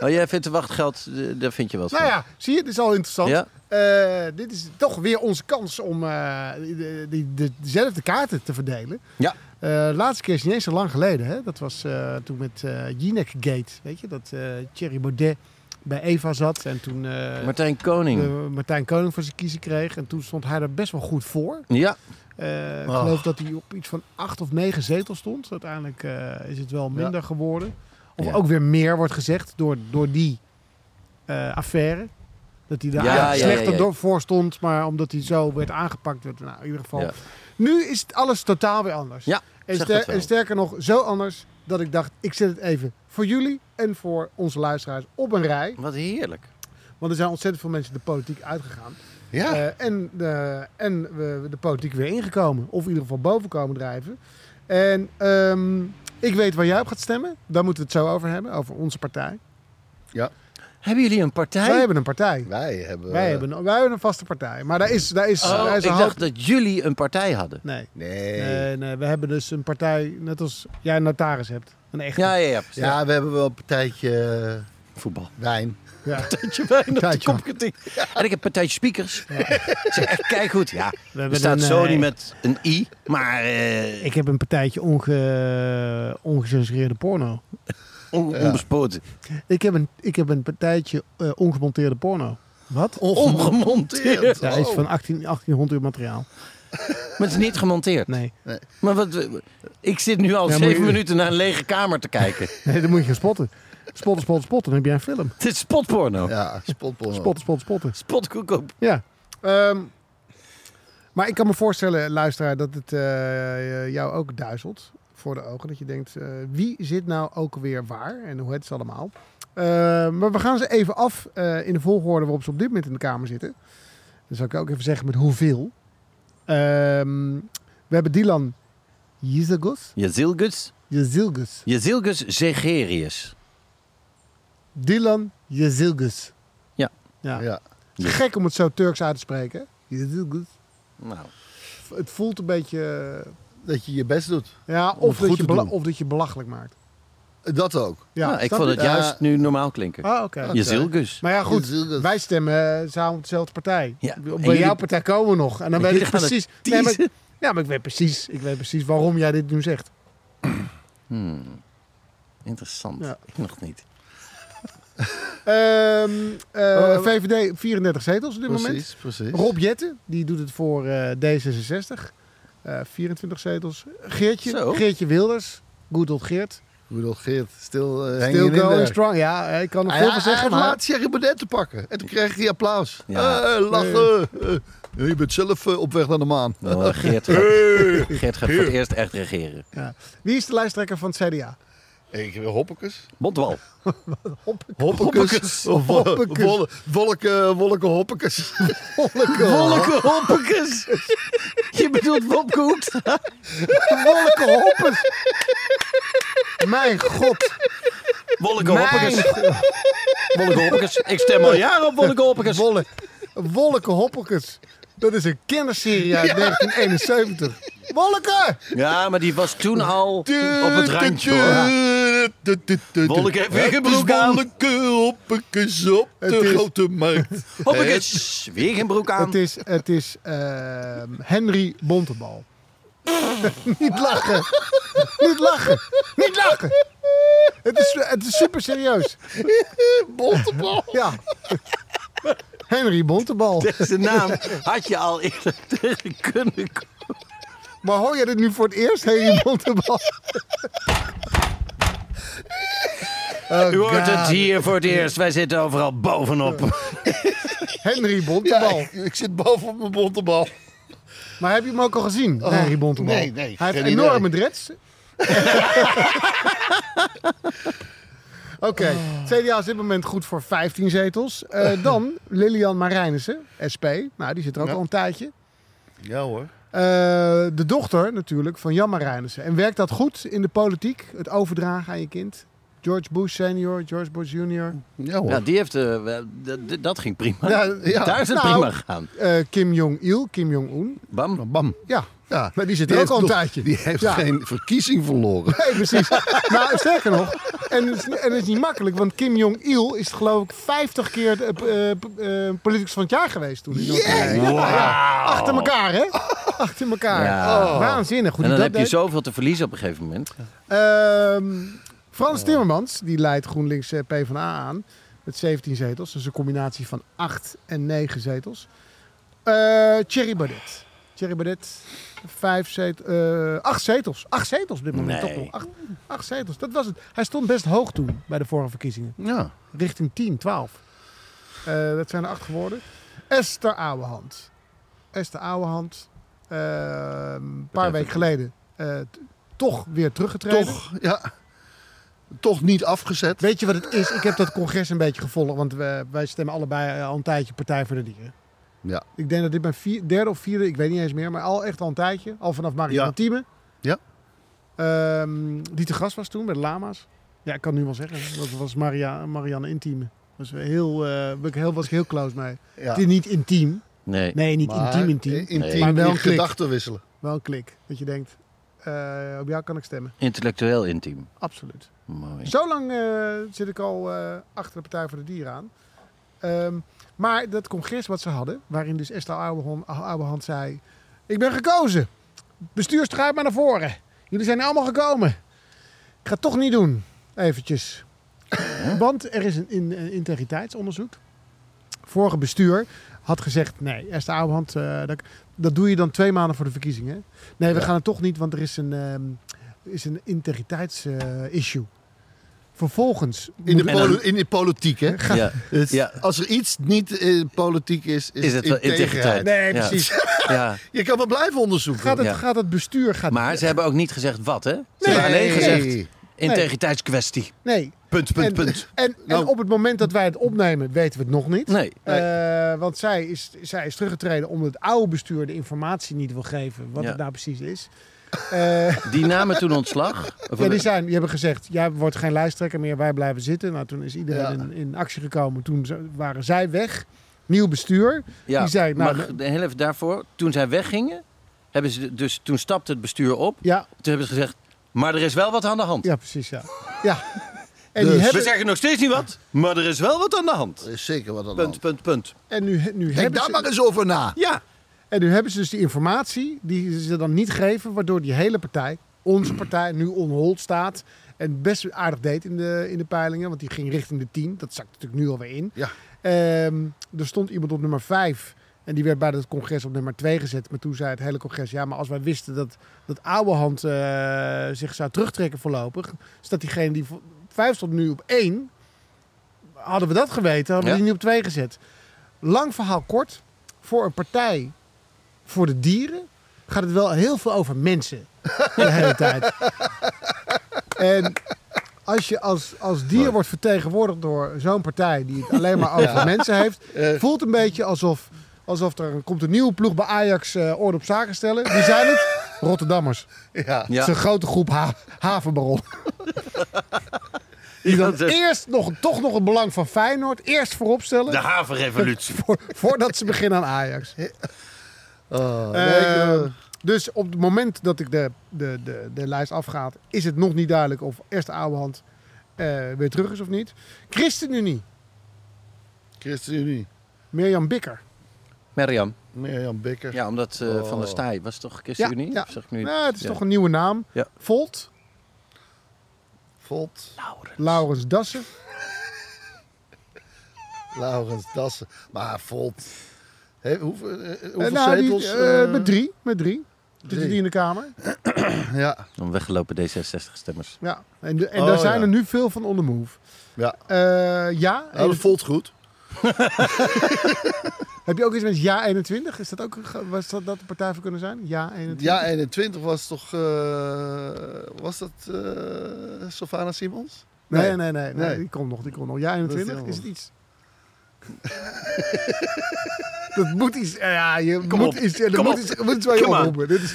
S1: Oh, jij vindt de wachtgeld, eh, daar vind je wat
S3: Nou
S1: van.
S3: ja, zie je, dit is al interessant.
S1: Ja.
S3: Eh, dit is toch weer onze kans om eh, de- die- de- dezelfde kaarten te verdelen.
S1: Ja.
S3: Eh, de laatste keer is niet eens zo lang geleden. Hè? Dat was eh, toen met eh Jinek Gate. Weet je, dat eh Thierry Baudet bij Eva zat. En toen eh,
S1: Martijn Koning.
S3: de Eh, Martijn Koning voor zijn kiezen kreeg. En toen stond hij daar best wel goed voor.
S1: Ja.
S3: Eh, ik
S2: Oh.
S3: geloof dat hij op iets van acht of negen zetels stond. Uiteindelijk eh, is het wel minder geworden. Of
S1: Ja.
S3: ook weer meer wordt gezegd door, door die eh, affaire. Dat hij daar
S1: Ja,
S3: eigenlijk
S1: ja, ja,
S3: slechter
S1: ja.
S3: door- voor stond, maar omdat hij zo werd aangepakt. Werd, nou, in ieder geval.
S1: Ja.
S3: Nu is het alles totaal weer anders.
S1: Ja,
S3: en,
S1: zeg
S3: ster-
S1: dat wel.
S3: en sterker nog, zo anders dat ik dacht, ik zet het even voor jullie en voor onze luisteraars op een rij.
S1: Wat heerlijk.
S3: Want er zijn ontzettend veel mensen de politiek uitgegaan.
S2: Ja.
S3: Eh, en de, en we, de politiek weer ingekomen. Of in ieder geval boven komen drijven. En ehm, ik weet waar jij op gaat stemmen. Daar moeten we het zo over hebben. Over onze partij.
S1: Hebben jullie een partij?
S3: Wij hebben een partij.
S2: Wij hebben...
S3: Wij, hebben, wij hebben een vaste partij. Maar daar is, daar is,
S1: Oh,
S3: daar
S1: ik
S3: is een hoop-
S1: dacht dat jullie een partij hadden.
S3: Nee.
S2: Nee.
S3: Nee, nee, we hebben dus een partij, net als jij een notaris hebt. Een echte.
S1: Ja, ja, ja. precies.
S2: Ja, we hebben wel een partijtje eh,
S1: *laughs* Voetbal.
S2: wijn.
S3: Ja.
S1: Partijtje wijn op de
S3: Partijtje.
S1: kop getikt. En ik heb partijtje speakers. Zeg, echt, kijk goed. Ja, er
S3: hebben
S1: staat
S3: een,
S1: Sony
S3: eh,
S1: met een i, maar eh,
S3: Ik heb een partijtje onge, ongecensureerde porno.
S1: on- onbespoten.
S3: Ik heb een, ik heb een partijtje eh, ongemonteerde porno. Wat?
S1: Ongemonteerd.
S3: Ja, is van 18, 1800 uur materiaal.
S1: Oh. Maar het is niet gemonteerd.
S3: Nee.
S1: Maar wat, eh, ik zit nu al
S3: Ja, maar
S1: zeven
S3: jullie-
S1: minuten naar een lege kamer te
S3: *laughs*
S1: kijken.
S3: *laughs* nee, dan moet je gaan spotten. Spotten, spotten, spotten. Dan heb jij een film.
S1: Het is spotporno.
S2: Ja, spotporno.
S3: Spotten, spotten, spotten.
S1: Spotkoekoop.
S3: Ja. Ehm, maar ik kan me voorstellen, luisteraar, dat het eh, jou ook duizelt voor de ogen. Dat je denkt, eh, wie zit nou ook weer waar en hoe heet ze allemaal? Eh, maar we gaan ze even af eh, in de volgorde waarop ze op dit moment in de Kamer zitten. Dan zal ik ook even zeggen met hoeveel. Ehm, we hebben Dylan Jezilgus.
S1: Jezilgus.
S3: Jezilgus.
S1: Jezilgus Zegerius.
S3: Dylan Jezilgus.
S1: Ja.
S3: ja.
S2: Ja.
S3: Het is gek om het zo Turks uit te spreken. hè? Jezilgus.
S1: Nou,
S3: Het voelt een beetje... eh,
S2: Dat je je best doet.
S3: Ja,
S2: het
S3: of dat,
S2: goed
S3: je
S2: te
S3: bela-
S2: doen.
S3: of dat je belachelijk maakt.
S2: Dat ook.
S3: Ja,
S1: nou, ik
S3: snap
S1: vond
S3: je?
S1: het juist
S2: Eh,
S1: nu normaal klinken.
S3: Ah, oké.
S1: Jezilgus.
S3: Maar ja, goed.
S2: Je ziet het.
S3: Wij stemmen eh, samen op dezelfde partij.
S1: Ja, en
S3: Bij
S1: jullie-
S3: jouw partij komen we nog. En dan weet
S1: Jullie
S3: ik
S1: gaan het
S3: precies... Nee, maar,
S1: teasen.
S3: ja, maar ik weet precies, ik weet precies waarom jij dit nu zegt.
S1: Interessant.
S3: Ja.
S1: Ik nog niet.
S3: Ehm, eh,
S2: Eh,
S3: VVD 34 zetels op dit moment.
S2: Precies, precies.
S3: Rob Jetten, die doet het voor eh, D66. Eh, 24 zetels. Geertje,
S1: Zo.
S3: Geertje Wilders. Good old Geert.
S2: Rudolf Geert, stil eh hang je
S3: Still
S2: in
S3: going
S2: there.
S3: strong. Ah, Ja, eh, ik kan nog
S2: Hij,
S3: veel
S2: hij,
S3: van zeggen,
S2: hij
S3: maar...
S2: ah, laat Thierry Baudet te pakken. En toen kreeg hij applaus.
S1: Ja.
S2: Eh, lachen. Eh, je bent zelf eh, op weg naar de *laughs* maan.
S1: Nou, eh, Geert gaat, Geert gaat voor het eerst echt regeren.
S3: Ja. Wie is de lijsttrekker van het CDA?
S2: Ik wil hoppekes.
S1: Bondwal.
S2: Hoppekes. Of, eh,
S3: Hoppekes.
S2: wolle- Wolken, wolken hoppekes.
S1: Wolke hoppekes. Je bedoelt Wopke Hoekstra.
S3: Wolke hoppers. Mijn god.
S1: Wolke
S3: Mijn
S1: hoppekes. Wolke hoppekes. Ik stem al jaren op Wolke hoppekes.
S3: wolle, wolke hoppelkes. Dat is een kinderserie uit 1971. Wolke!
S1: Ja, maar die was toen al op het randje. hoor.
S2: hoor.
S1: Wolken heeft weer geen broek aan.
S2: Wolken hoppekes op de
S3: is-
S2: grote markt.
S1: Hoppekes. Weer geen broek *laughs* aan.
S3: Het is, het is ehm, Henry Bontebal. *laughs* Niet lachen. Niet lachen. Niet lachen. Het is, het is super serieus.
S2: Bontebal.
S3: Ja. *laughs* Henry Bontebal.
S1: Deze naam had je al eerder *laughs* tegen kunnen komen.
S2: *laughs*
S3: Maar hoor je dit nu voor het eerst, Henry Bontebal?
S2: Oh,
S1: U hoort het
S2: God.
S1: hier voor het eerst. Wij zitten overal bovenop.
S3: Henry
S2: Ja,
S3: Bontebal.
S2: ik, ik zit bovenop mijn bonte bal.
S3: Maar heb je hem ook al gezien, Henry Bontebal?
S2: Oh, nee, nee,
S3: Hij heeft
S2: geen idee.
S3: enorme dreads. *laughs*
S2: *laughs*
S3: Oké,
S2: Ah.
S3: CDA is dit moment goed voor 15
S2: *laughs*
S3: zetels. Eh, dan Lilian Marijnissen, SP. Nou, die zit er ook
S2: Ja.
S3: al een tijdje.
S2: Ja hoor.
S3: Eh, de dochter natuurlijk van Jan Marijnissen. En werkt dat goed in de politiek? Het overdragen aan je kind? George Bush senior, George Bush junior.
S2: Ja hoor.
S1: Ja, die heeft, eh, wel, d- d- dat ging prima.
S2: Ja, *laughs* ja.
S1: Daar is het
S3: Nou.
S1: prima gegaan.
S3: Eh, Kim Jong-il, Kim Jong-un.
S1: Bam.
S2: Bam.
S3: Ja,
S2: Ja,
S3: maar die zit er ook
S2: heeft
S3: al een
S2: nog-
S3: tijdje.
S2: Die heeft
S3: Ja.
S2: geen verkiezing verloren.
S3: Nee,
S1: *laughs*
S3: precies. nou, sterker nog, en het is, en het is niet makkelijk, want Kim Jong-il is geloof ik 50 keer de, eh, p- eh, politicus van het jaar geweest toen. in Noord-Korea. Ja, achter elkaar, hè? Achter elkaar.
S1: Oh. Ja.
S3: Oh. Waanzinnig. Hoe
S1: En
S3: die
S1: dan
S3: dat
S1: heb je
S3: deed.
S1: zoveel te verliezen op een gegeven moment.
S3: Ehm, Frans Timmermans, die leidt GroenLinks eh, PvdA aan met 17 zetels. Dus een combinatie van 8 en 9 zetels. Eh Thierry Baudet. Thierry Baudet, vijf zet, eh, acht zetels. Acht zetels op dit moment
S1: Nee.
S3: toch nog. Acht, acht zetels, dat was het. Hij stond best hoog toen bij de vorige verkiezingen.
S2: Ja.
S3: Richting 10, 12. Eh, dat zijn er acht geworden. Esther Ouwehand. Esther Ouwehand, eh, een paar weken geleden eh, t- toch weer teruggetreden.
S2: Toch, ja. Toch niet afgezet.
S3: Weet je wat het is? Ik heb dat congres een beetje gevolgd, want we, wij stemmen allebei eh, al een tijdje Partij voor de Dieren.
S2: Ja.
S3: Ik denk dat dit mijn vier- derde of vierde, ik weet niet eens meer, maar al echt al een tijdje. Al vanaf Mario
S2: Ja.
S3: van Thieme.
S2: Ja.
S3: Ehm, die te gast was toen bij de Lama's. Ja, ik kan nu wel zeggen. Dat was Maria, Marianne Intieme. Was heel, eh, ben ik heel, was ik heel close mee.
S2: Ja.
S3: Het is niet intiem.
S1: Nee.
S3: Nee, niet
S2: Maar
S3: intiem intiem.
S2: Intiem
S1: Nee.
S3: Maar wel
S2: in
S3: een klik.
S2: gedachten wisselen.
S3: Wel een klik. Dat je denkt, eh, op jou kan ik stemmen.
S1: Intellectueel intiem.
S3: Absoluut.
S1: Mooi.
S3: Zo lang eh, zit ik al eh, achter de Partij voor de Dieren aan. Ehm, maar dat congres wat ze hadden, waarin dus Esther Ouwehand, Ouwehand zei... Ik ben gekozen. Bestuur schuift maar naar voren. Jullie zijn allemaal gekomen. Ik ga het toch niet doen. Eventjes. Want er is een, in, een integriteitsonderzoek. Vorige bestuur had gezegd... Nee, Esther Ouwehand, eh, dat, dat doe je dan twee maanden voor de verkiezingen. hè? Nee, we gaan het toch niet, want er is een, ehm, is een integriteitsissue. Vervolgens...
S2: In de,
S1: En dan-
S2: poli- in de politiek, hè?
S1: Ja.
S2: Het-
S1: Ja.
S2: Als er iets niet eh, politiek is, is,
S1: Is het wel integriteit?
S3: Nee,
S1: Ja.
S3: precies.
S1: *laughs* Ja.
S2: Je kan wel blijven onderzoeken.
S3: Gaat het,
S1: Ja.
S3: gaat het bestuur... Gaat,
S1: Maar ze hebben ook niet gezegd wat, hè? Ze
S2: Nee.
S1: hebben alleen gezegd
S2: Nee.
S1: integriteitskwestie.
S3: Nee.
S2: Punt, punt,
S3: en,
S2: punt.
S3: En,
S2: Nou.
S3: en op het moment dat wij het opnemen, weten we het nog niet.
S1: Nee.
S3: Eh, want zij is, zij is teruggetreden omdat het oude bestuur de informatie niet wil geven. Wat
S1: Ja.
S3: het nou precies is. Eh,
S1: Die namen toen ontslag. Of-
S3: ja, die, zijn, die hebben gezegd, jij wordt geen lijsttrekker meer, wij blijven zitten. Nou, toen is iedereen
S2: Ja.
S3: in, in actie gekomen. Toen z- waren zij weg. Nieuw bestuur.
S1: Ja,
S3: die zei, nou,
S1: maar heel even daarvoor. Toen zij weggingen, hebben ze dus, toen stapte het bestuur op.
S3: Ja,
S1: Toen hebben ze gezegd, maar er is wel wat aan de hand.
S3: ja precies. Ja. ja. En,
S2: Dus-
S3: nu
S1: We
S3: hebben,
S1: zeggen nog steeds niet wat, maar er is wel wat aan de hand.
S2: Er is zeker wat aan de
S1: Punt,
S2: hand.
S1: punt, punt.
S3: en nu, nu
S2: Denk
S3: hebben
S2: daar
S3: ze-
S2: maar eens over na.
S1: Ja.
S3: En nu hebben ze dus die informatie die ze dan niet geven, waardoor die hele partij, onze partij, nu on hold staat. En best aardig deed in de, in de peilingen, want die ging richting de 10. Dat zakt natuurlijk nu alweer in.
S2: Ja.
S3: Ehm, er stond iemand op nummer 5 en die werd bij dat congres op nummer 2 gezet. Maar toen zei het hele congres, ja, maar als wij wisten dat, dat Ouwehand eh, zich zou terugtrekken voorlopig, dus dat diegene die vo- 5 stond nu op 1, hadden we dat geweten, hadden we
S1: Ja.
S3: die nu op 2 gezet. Lang verhaal kort, voor een partij voor de dieren gaat het wel heel veel over mensen de hele tijd. En als je als, als dier wordt vertegenwoordigd door zo'n partij die het alleen maar over mensen heeft, voelt een beetje alsof, alsof er een- komt een nieuwe ploeg bij Ajax eh orde op zaken stellen. Wie zijn het? Rotterdammers.
S2: Ja.
S1: Ja.
S3: Het is een grote groep ha havenbaron. Die dan
S1: Dus-
S3: eerst nog, toch nog het belang van Feyenoord eerst voorop stellen.
S1: De havenrevolutie.
S3: *laughs* Voor- voordat ze beginnen aan Ajax.
S2: Oh, nee,
S3: Eh,
S2: eh,
S3: dus op het moment dat ik de, de, de, de lijst afgaat, is het nog niet duidelijk of Eerste Ouwehand eh weer terug is of niet. ChristenUnie,
S2: ChristenUnie.
S3: Mirjam Bikker.
S1: Merjam.
S2: Mirjam Bikker.
S1: Ja, omdat eh, Van der Staaij was toch ChristenUnie?
S3: ja.
S1: Zeg ik nu.
S3: Nou, het is
S1: Ja.
S3: toch een nieuwe naam.
S1: Ja.
S3: Volt,
S2: Volt.
S3: Laurens Dassen.
S2: Laurens Dassen. Maar Volt. Hé, hoeveel eh, hoeveel
S3: Eh, nou, die,
S2: zetels?
S3: eh,
S2: eh,
S3: met drie, met drie. Zitten die in de Kamer?
S2: Ja,
S1: Dan weggelopen D66-stemmers.
S3: Ja. En, de- en
S2: Oh,
S3: daar zijn
S2: ja.
S3: er nu veel van on the move.
S2: ja.
S3: Eh, ja.
S2: Nou, dat voelt goed.
S3: Heb je ook iets met Ja 21? Is dat ook een ge- was dat, dat de partij voor kunnen zijn? Ja 21.
S2: Ja, 21 was toch... eh, was dat eh Sylvana Simons?
S3: nee, nee, nee, nee,
S2: Nee.
S3: Die komt nog, die komt nog. Ja 21
S2: helemaal-
S3: is het iets. *laughs* dat moet iets. eh, Ja, je
S2: Kom
S3: moet
S2: op.
S3: iets. eh, Dat
S2: Kom
S3: moet
S2: op.
S3: iets. Moet iets waar je
S2: Come on.
S3: oproepen. Dit is.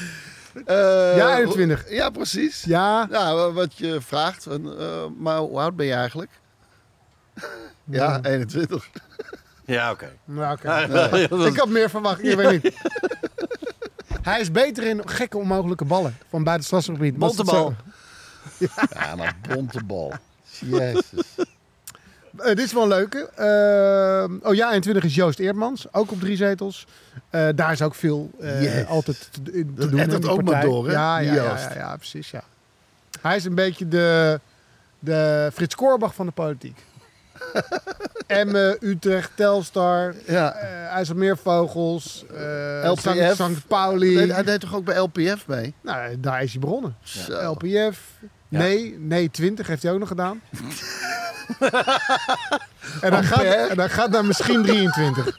S2: Eh,
S3: Ja, 21.
S2: Ja, precies.
S3: Ja.
S2: Nou, wat je vraagt, van, eh, maar hoe oud ben je eigenlijk? Ja, 21.
S1: Ja, oké.
S3: Nou, oké. Ik had meer verwacht, ik weet niet. Hij is beter in gekke onmogelijke ballen van buiten het strafgebied. Was het
S1: Bontebal.
S3: zo?
S2: Ja, nou, bonte bal. Jezus.
S3: Eh, dit is wel een leuke. Eh, oh ja, 21 is Joost Eerdmans, ook op drie zetels. Eh, daar is ook veel eh,
S2: Jezus.
S3: altijd te, in te
S2: Dat
S3: doen. in
S2: ettert
S3: die
S2: ook maar
S3: partij.
S2: door, hè,
S3: Ja,
S2: die
S3: ja, ja,
S2: Joost.
S3: ja, ja, precies, ja. Hij is een beetje de, de Frits Korbach van de
S2: *laughs*
S3: politiek. Emmen, Utrecht, Telstar,
S2: Ja.
S3: eh IJsselmeervogels, eh
S2: LPF.
S3: Sankt, Sankt Pauli.
S2: Nee, Eh, hij deed toch ook bij LPF mee?
S3: Nou, daar is hij begonnen.
S2: Zo.
S3: LPF. Nee, nee 20 heeft hij ook nog
S2: *laughs*
S3: gedaan. en, dan gaat, en dan gaat naar misschien 23.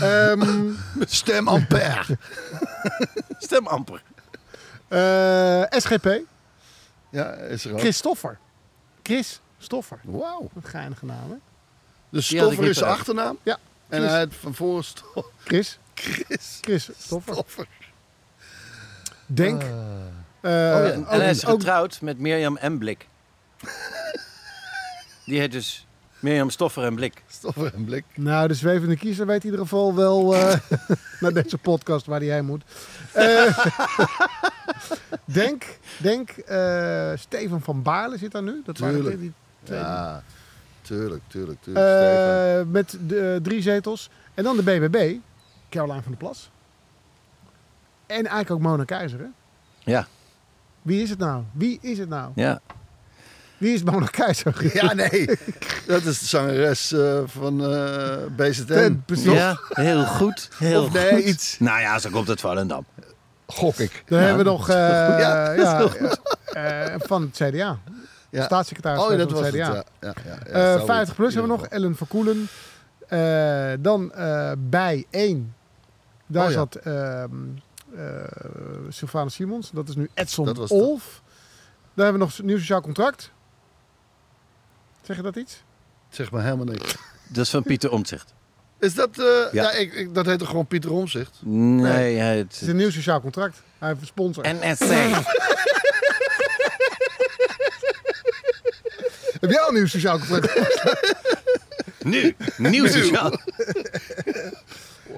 S3: Ehm,
S2: Stem *laughs* ampère.
S1: Stem amper.
S3: eh,
S2: Oh.
S3: SGP.
S2: Ja, is er ook.
S3: Chris Stoffer. Chris Stoffer.
S2: Wauw.
S3: Een geinige naam, hè?
S2: Dus
S1: Die had ik
S2: Stoffer is
S1: niet
S2: zijn
S1: bereikt.
S2: achternaam.
S3: Ja,
S2: En
S3: Chris.
S2: hij had van voren Sto- *laughs*
S3: Chris.
S2: Chris
S3: Chris Stoffer.
S2: Stoffer. Ah.
S3: Denk. Eh,
S2: Oh ja,
S3: ook-
S1: En hij is
S3: ook-
S1: getrouwd met Mirjam en Blik. Die heet dus Mirjam Stoffer en Blik.
S2: Stoffer en blik.
S3: nou, de zwevende kiezer weet in ieder geval wel eh, *laughs* naar deze podcast waar hij heen moet. Eh, *laughs* denk, denk eh, Steven van Baarle zit daar nu. Dat waren
S2: Tuurlijk.
S3: die- die twee
S2: Ja, tuurlijk, tuurlijk, tuurlijk. Stefan.
S3: Eh, met de, eh, drie zetels. En dan de BBB, Caroline van der Plas. En eigenlijk ook Mona Keizer. Hè?
S1: Ja,
S3: Wie is het nou? Wie is het nou?
S1: ja.
S3: Wie is Mona Keizer?
S2: Ja, nee. Dat is de zangeres eh, van eh BZN.
S3: Ten, precies.
S1: ja heel goed. Heel
S2: Of nee,
S1: goed.
S2: iets.
S1: Nou ja, zo komt het Volendam.
S2: Gok ik.
S3: *laughs* Dan hebben we nog eh,
S2: Ja,
S3: ja,
S2: dat is heel
S3: eh, van het CDA.
S2: Ja.
S3: Staatssecretaris
S2: Oh, ja,
S3: van
S2: dat
S3: het
S2: was het.
S3: CDA.
S2: Ja. Ja, ja, ja,
S3: Eh,
S2: sorry.
S3: 50 plus hebben we nog.
S2: In
S3: Ellen Verkoelen. Eh, dan eh, bij 1. Daar
S2: Oh, ja.
S3: zat ehm eh, Sylvana Simons. Dat is nu
S2: Dat
S3: Edson
S2: was
S3: Olf. Daar hebben we nog een nieuw sociaal contract. Zeg je dat iets?
S2: ieder geval. Zeg maar helemaal niks.
S1: Dat is van Pieter Omtzigt.
S2: Is dat... eh, ja,
S1: Ja.
S2: ik, ik- dat heet toch gewoon Pieter Omzicht?
S1: Nee, hij
S3: Het is een nieuw sociaal contract. Hij heeft een sponsor.
S1: NSC.
S3: Heb jij al een nieuw
S2: *laughs*
S3: sociaal contract?
S1: Nu, nieuw sociaal.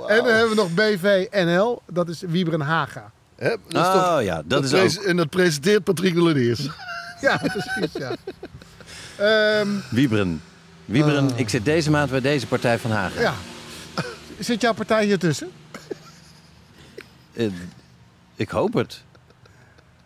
S3: En dan hebben we nog BVNL. Dat is Wiebren Haga.
S2: Hè? Ah, Dat is
S1: Oh
S2: toch-
S1: ja, dat is
S2: pres-
S1: ook.
S2: En dat presenteert Patrick de Lodiers.
S3: Ja, *laughs* precies. Ja. Ehm,
S1: Wieberen. Wieberen, ik zit deze maand bij deze partij van Hagen.
S3: ja. Zit jouw partij hier tussen?
S1: Eh, ik hoop het.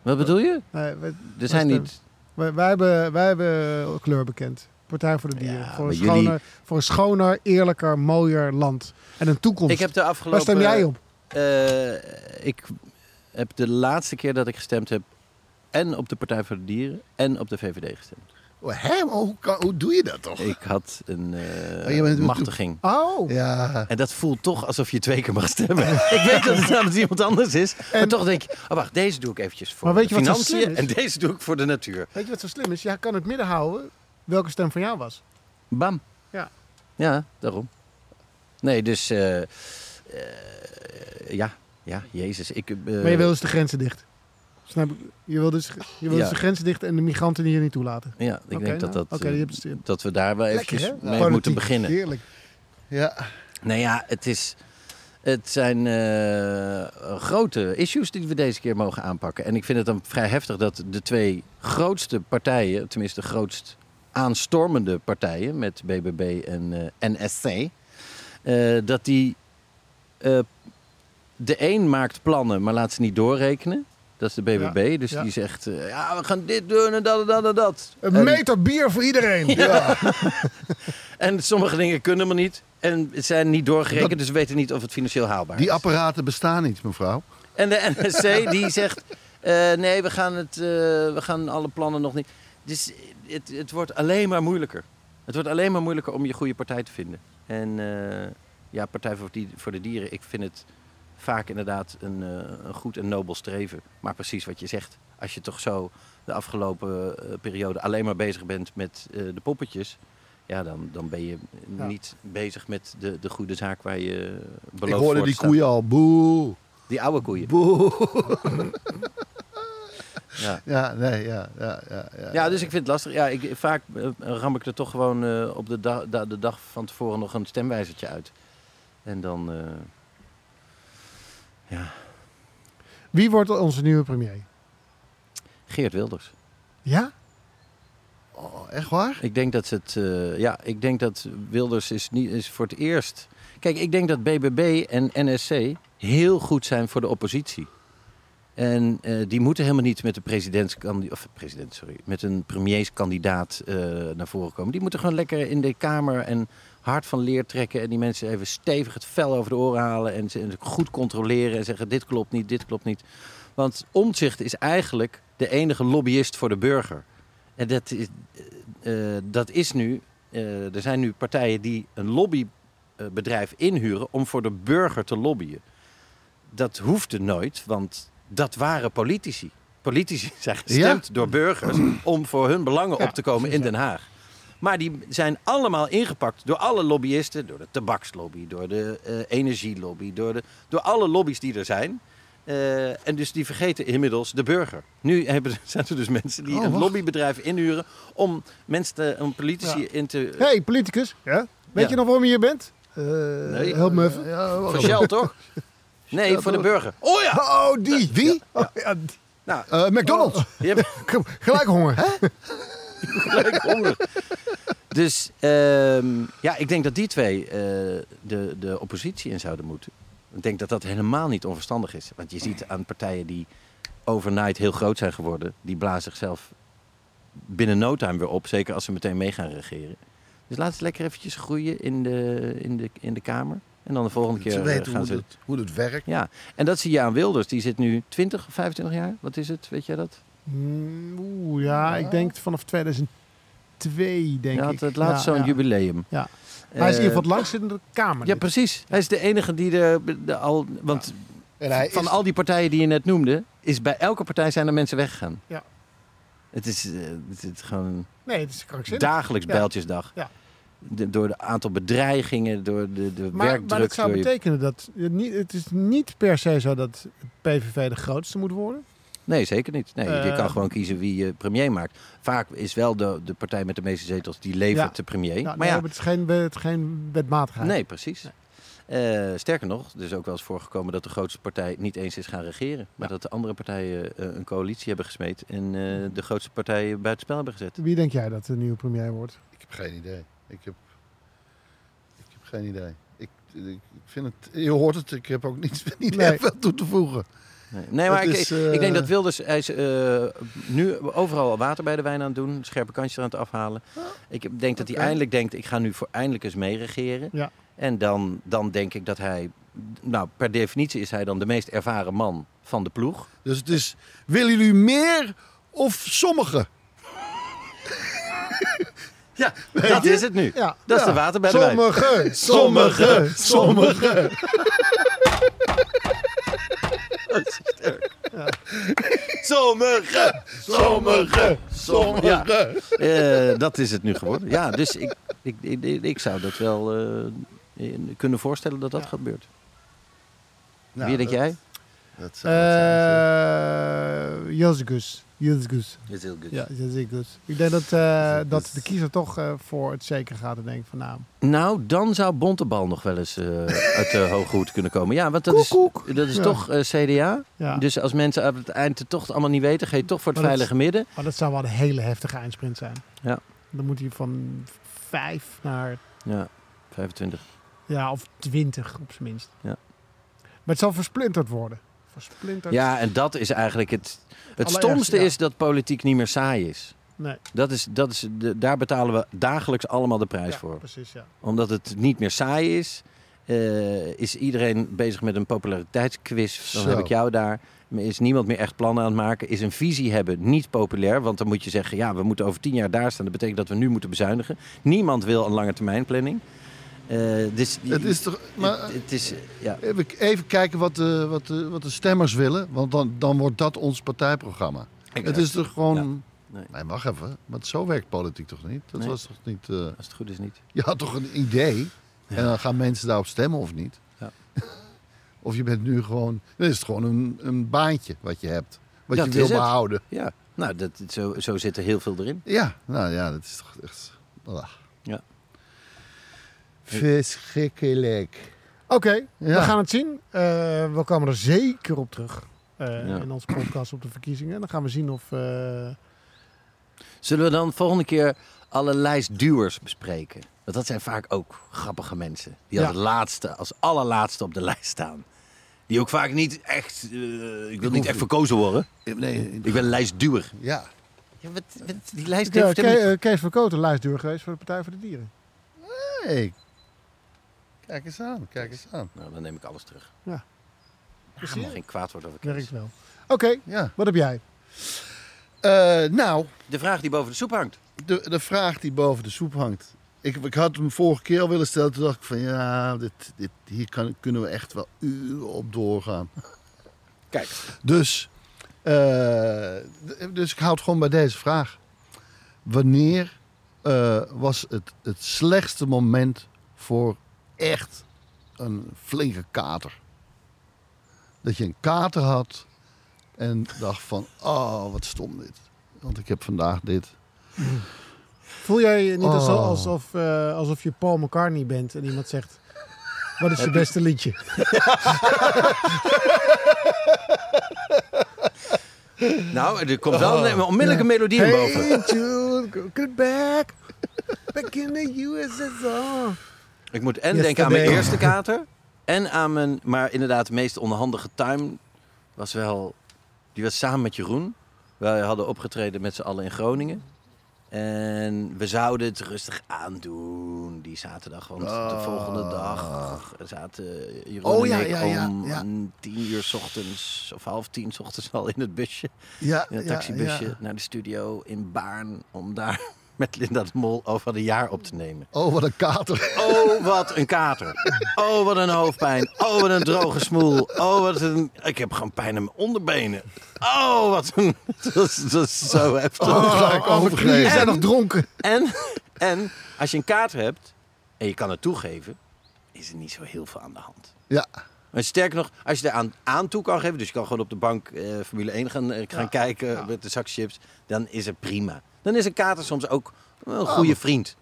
S1: Wat bedoel je?
S3: Nee, we-
S1: Er zijn
S3: we-
S1: niet...
S3: Wij, wij hebben, wij hebben kleur bekend. Partij voor de Dieren.
S1: Ja,
S3: voor,
S1: maar
S3: een schoner,
S1: jullie-
S3: voor een schoner, eerlijker, mooier land. En een toekomst.
S1: Ik heb de
S3: Waar
S1: afgelopen...
S3: stem jij op?
S1: Eh, ik heb de laatste keer dat ik gestemd heb... en op de Partij voor de Dieren en op de VVD gestemd.
S2: Oh, hè? Maar hoe, kan- hoe doe je dat toch?
S1: Ik had een eh,
S2: Oh, je bent-
S1: machtiging.
S3: Oh,
S2: Ja.
S1: En dat voelt toch alsof je twee keer mag stemmen.
S3: *laughs*
S1: ik weet dat het namens iemand anders is. Maar toch denk ik, oh wacht, deze doe ik eventjes voor
S3: Maar weet
S1: de
S3: je wat zo
S1: financiën...
S3: slim is?
S1: en deze doe ik voor de natuur.
S3: weet je wat zo slim is? Jij kan het midden houden welke stem van jou was.
S1: Bam.
S3: Ja.
S1: Ja, daarom. Nee, dus... eh, eh, ja, ja, jezus. Ik, eh,
S3: maar je wil dus de grenzen dicht. Snap ik? Je wil dus, je wil
S1: Ja.
S3: dus de grenzen dicht en de migranten hier niet toelaten.
S1: Ja, ik
S3: Oké,
S1: denk dat,
S3: nou,
S1: dat,
S3: oké,
S1: eh,
S3: je hebt het- je hebt-
S1: dat we daar wel eventjes
S3: Lekker, hè?
S1: mee
S3: Politiek.
S1: moeten beginnen.
S3: Heerlijk.
S2: ja.
S1: Nou ja, het, is, het zijn eh, grote issues die we deze keer mogen aanpakken. En ik vind het dan vrij heftig dat de twee grootste partijen, tenminste de grootst aanstormende partijen met BBB en eh, NSC, eh, dat die eh, de een maakt plannen, maar laat ze niet doorrekenen. Dat is de BBB,
S3: Ja,
S1: dus
S3: ja.
S1: die zegt, eh, ja, we gaan dit doen en dat en dat en dat.
S3: Een
S1: En-
S3: meter bier voor iedereen.
S1: En sommige dingen kunnen maar niet. En zijn niet doorgerekend, dus we weten niet of het financieel haalbaar is.
S2: Die apparaten bestaan niet, mevrouw.
S1: En de NSC die zegt, eh, nee, we gaan, het, eh, we gaan alle plannen nog niet. Dus het, het wordt alleen maar moeilijker. Het wordt alleen maar moeilijker om je goede partij te vinden. En eh, ja, Partij voor, die, voor de Dieren, ik vind het vaak inderdaad een, eh, een goed en nobel streven. Maar precies wat je zegt, als je toch zo de afgelopen eh, periode alleen maar bezig bent met eh, de poppetjes... Ja, dan, dan ben je
S3: Ja.
S1: niet bezig met de, de goede zaak waar je eh, beloofd
S2: Ik hoorde
S1: voor
S2: die
S1: staat.
S2: koeien al. Boe.
S1: Die oude koeien.
S2: Boe.
S1: *laughs* Ja.
S2: Ja, nee, ja. ja, ja, ja.
S1: ja, dus ik vind het lastig. Ja, ik, vaak eh, ram ik er toch gewoon eh, op de, da- da- de dag van tevoren nog een stemwijzertje uit. En dan... eh, ja,
S3: Wie wordt onze nieuwe premier?
S1: Geert Wilders.
S3: Ja?
S2: Oh, echt waar?
S1: Ik denk dat het... eh, ja, ik denk dat Wilders is, niet, is voor het eerst... Kijk, ik denk dat BBB en NSC heel goed zijn voor de oppositie. En eh, die moeten helemaal niet met de presidentskandidaat, of president, sorry, met een premierskandidaat eh, naar voren komen. Die moeten gewoon lekker in de Kamer en hard van leer trekken. En die mensen even stevig het vel over de oren halen. En ze en ze goed controleren en zeggen: dit klopt niet, dit klopt niet. Want omzicht is eigenlijk de enige lobbyist voor de burger. En dat is, eh, eh, dat is nu. eh, er zijn nu partijen die een lobbybedrijf inhuren om voor de burger te lobbyen dat hoefde nooit, want dat waren politici. Politici *laughs* zijn gestemd door burgers om voor hun belangen op te komen in Den Haag. Maar die zijn allemaal ingepakt door alle lobbyisten, door de tabakslobby, door de eh, energielobby, door, de, door alle lobby's die er zijn. Eh, en dus die vergeten inmiddels de burger. Nu hebben, *laughs* zijn er dus mensen die
S2: Oh,
S1: een
S2: wacht.
S1: lobbybedrijf inhuren om mensen, te- om politici
S3: Ja.
S1: in te...
S3: Hé, hey, politicus. Ja? Weet
S1: Ja.
S3: je nog waarom je hier bent? Eh,
S1: Nee.
S3: Help me even.
S2: Ja,
S1: Voor Shell,
S2: *laughs*
S1: toch? Nee, voor de burger.
S2: Oh ja! Oh, die. Wie?
S3: Oh, ja, die-
S1: Nou,
S2: Eh, McDonald's.
S1: je hebt,
S2: *laughs*
S3: gelijk honger.
S1: *laughs* gelijk honger. Dus ehm, ja, ik denk dat die twee eh, de, de oppositie in zouden moeten. Ik denk dat dat helemaal niet onverstandig is. Want je ziet aan partijen die overnight heel groot zijn geworden, die blazen zichzelf binnen no time weer op. Zeker als ze meteen mee gaan regeren. Dus laat ze lekker eventjes groeien in de, in de, in de Kamer. En dan de volgende keer
S2: Ze
S1: eh,
S2: weten
S1: gaan
S2: hoe
S1: ze...
S2: het, hoe het werkt.
S1: Ja, en dat zie je aan Wilders. Die zit nu 20 of 25 jaar. Wat is het? Weet jij dat?
S3: Mm, Oeh, ja, ik denk vanaf 2002, denk
S1: Hij
S3: ik.
S1: had het laatst
S3: Ja,
S1: zo'n
S3: ja.
S1: jubileum.
S3: Ja. Hij is in
S1: Eh,
S3: ieder geval langs in de Kamer.
S1: Ja, precies. Hij is de enige die de, de al. Want
S2: En hij
S1: van
S2: is-
S1: al die partijen die je net noemde, is bij elke partij zijn er mensen weggegaan.
S3: Ja.
S1: Het is, eh, het is gewoon
S3: Nee, het is krankzinnig.
S1: dagelijks
S3: Ja.
S1: bijltjesdag.
S3: Ja.
S1: De- door het aantal bedreigingen, door de, de
S3: maar,
S1: werkdruk.
S3: maar dat zou
S1: door je-
S3: betekenen dat... Het, niet, het is niet per se zo dat PVV de grootste moet worden.
S1: Nee, zeker niet. Nee, je
S3: Eh,
S1: kan gewoon kiezen wie je premier maakt. Vaak is wel de, de partij met de meeste zetels die levert
S3: Ja.
S1: de premier.
S3: Nou,
S1: maar
S3: nee,
S1: ja,
S3: Het is geen, het is geen wetmatigheid.
S1: nee, precies. Eh, sterker nog, er is ook wel eens voorgekomen dat de grootste partij niet eens is gaan regeren. Maar dat de andere partijen eh, een coalitie hebben gesmeed en eh, de grootste partijen buitenspel hebben gezet.
S3: Wie denk jij dat de nieuwe premier wordt?
S2: Ik heb geen idee. Ik heb, ik heb geen idee. Ik, ik vind het, je hoort het, ik heb ook niets, *laughs* niet
S3: Nee.
S2: heel veel toe te voegen.
S1: Nee, nee maar
S2: Het
S1: ik,
S2: is,
S1: ik- ik denk
S2: eh,
S1: dat Wilders hij is, eh, nu overal water bij de wijn aan het doen, scherpe kantjes aan het afhalen. Ik denk dat hij eindelijk denkt, ik ga nu voor eindelijk eens meeregeren.
S3: Ja.
S1: En dan, dan denk ik dat hij, nou per definitie is hij dan de meest ervaren man van de ploeg.
S2: Dus het is, willen jullie meer of sommigen?
S1: Ja, dat is het nu.
S3: Ja.
S1: Dat is
S3: Ja.
S1: de water bij de wijn.
S3: Sommigen!
S2: Sommigen, sommigen. *laughs*
S1: Sommige, sommige, sommige. Ja,
S2: Sommigen.
S1: *laughs* eh, dat is het nu geworden. Ja, dus ik, ik, ik, ik zou dat wel eh, in- kunnen voorstellen dat dat gebeurt. Wie denk jij?
S2: Dat zou het zijn.
S3: *laughs* Eh Jozgus. Jozgus.
S1: Dat is heel goed.
S3: Ja, Jozgus. Ik denk dat, eh,
S1: Dus-
S3: dat de kiezer toch eh, voor het zeker gaat en denkt van nou...
S1: Nou, dan zou Bontebal nog wel eens *laughs* eh, uit de hoge hoed kunnen komen. Ja, want dat is, dat is
S3: Ja.
S1: toch eh, CDA.
S3: dus- Ja.
S1: Dus als mensen aan het eind het toch allemaal niet weten, ga je toch voor het
S3: Maar dat-
S1: veilige midden.
S3: Maar dat zou wel een hele heftige eindsprint zijn.
S1: Ja.
S3: Dan moet hij van 5 naar
S1: Ja, 25.
S3: ja, of 20 op zijn minst.
S1: Ja.
S3: Maar het zal versplinterd worden. Versplinterd.
S1: Ja, en dat is eigenlijk het. Het
S3: Allereerst,
S1: stomste
S3: ja.
S1: is dat politiek niet meer saai is.
S3: Nee.
S1: Dat is, dat is de, daar betalen we dagelijks allemaal de prijs
S3: Ja,
S1: voor.
S3: precies, ja.
S1: Omdat het niet meer saai is. eh, is iedereen bezig met een populariteitsquiz. Dan
S2: Zo.
S1: heb ik jou daar. Maar Is niemand meer echt plannen aan het maken? Is een visie hebben niet populair? Want dan moet je zeggen, ja, we moeten over tien jaar daar staan. Dat betekent dat we nu moeten bezuinigen. Niemand wil een lange termijn planning. Eh, dus
S2: Het is toch... Maar,
S1: het, het is, eh, ja.
S2: Even, even kijken wat de, wat, de, wat de stemmers willen, want dan, dan wordt dat ons partijprogramma. Het is toch gewoon...
S1: Ja. Nee.
S2: Nee. wacht even. Want zo werkt politiek toch niet? Dat
S1: Nee.
S2: was toch niet... eh,
S1: Als het goed is niet.
S2: je had toch een idee? En dan gaan mensen daarop stemmen of niet?
S1: Ja.
S2: *laughs* of je bent nu gewoon... Dan is het gewoon een, een baantje wat je hebt. Wat
S1: Dat
S2: je
S1: is
S2: wil
S1: het.
S2: behouden.
S1: Ja, nou, dat, zo, zo zit er heel veel erin.
S2: Ja, nou ja, dat is toch echt... Ah.
S1: Ja.
S2: Verschrikkelijk.
S3: Oké, we
S2: Ja.
S3: gaan het zien. Eh, we komen er zeker op terug eh,
S1: Ja.
S3: in onze podcast op de verkiezingen. Dan gaan we zien of... eh,
S1: Zullen we dan volgende keer alle lijstduwers bespreken? Want dat zijn vaak ook grappige mensen. Die als
S3: Ja.
S1: laatste, als allerlaatste op de lijst staan. Die ook vaak niet echt, eh, ik wil niet echt verkozen worden.
S2: Nee,
S1: Ik ben lijstduwer.
S2: ja.
S1: Ja, wat, wat- die lijst
S3: Ke-
S1: heeft
S3: Ke-
S1: helemaal niet-
S3: eh, Kees van Koten, lijstduur geweest voor de Partij voor de Dieren.
S2: Hey. Kijk eens aan, kijk eens aan.
S1: Nou, dan neem ik alles terug.
S3: Ja.
S1: Ik mag geen kwaad worden over Kees.
S3: Werkt wel. Oké,
S2: Ja.
S3: wat heb jij?
S2: Eh, nou,
S1: De vraag die boven de soep hangt.
S2: de, de vraag die boven de soep hangt. Ik, ik had hem vorige keer al willen stellen. Toen dacht ik van ja, dit, dit, hier kan, kunnen we echt wel uren op doorgaan.
S1: Kijk.
S2: Dus, eh, d- dus ik houd gewoon bij deze vraag. Wanneer eh, was het, het slechtste moment voor echt een flinke kater? Dat je een kater had en dacht van, oh wat stom dit. Want ik heb vandaag dit.
S3: Voel jij je niet alsof,
S2: Oh.
S3: alsof, eh, alsof je Paul McCartney bent en iemand zegt... Wat is je beste liedje?
S1: Nou, er komt wel een onmiddellijke melodie naar boven.
S3: Oh. Jude, go get back. Back in the USSR.
S1: Ik moet en
S3: Yes,
S1: denken aan mijn
S3: today.
S1: eerste kater. En aan mijn, maar inderdaad, de meest onhandige tuin was wel. Die was samen met Jeroen. Wij hadden opgetreden met z'n allen in Groningen. En we zouden het rustig aandoen die zaterdag. Want
S3: Ah.
S1: de volgende dag zaten Jeroen
S2: Oh,
S1: en
S2: ja,
S1: ik
S2: ja, ja,
S1: om
S2: ja.
S1: om tien uur 's ochtends of half tien 's ochtends al in het busje.
S2: Ja,
S1: In een taxibusje naar de studio in Baarn. Om daar *laughs* met Linda de Mol over een jaar op te nemen.
S2: Oh, wat een kater.
S1: Oh, wat een kater. Oh, wat een hoofdpijn. Oh, wat een droge smoel. Oh, wat een... Ik heb gewoon pijn aan mijn onderbenen. Oh, wat een... *laughs* Dat is, dat is zo
S2: *laughs*
S1: heftig. Oh,
S2: ga ik overgeven.
S3: Jullie zijn nog dronken.
S1: En, en als je een kater hebt, en je kan het toegeven, is er niet zo heel veel aan de hand.
S2: Ja,
S1: Maar sterker nog, als je daar aan, aan toe kan geven, dus je kan gewoon op de bank eh, Formule 1 gaan, eh, gaan kijken met de zak chips, dan is het prima. Dan is een kater soms ook een goede vriend.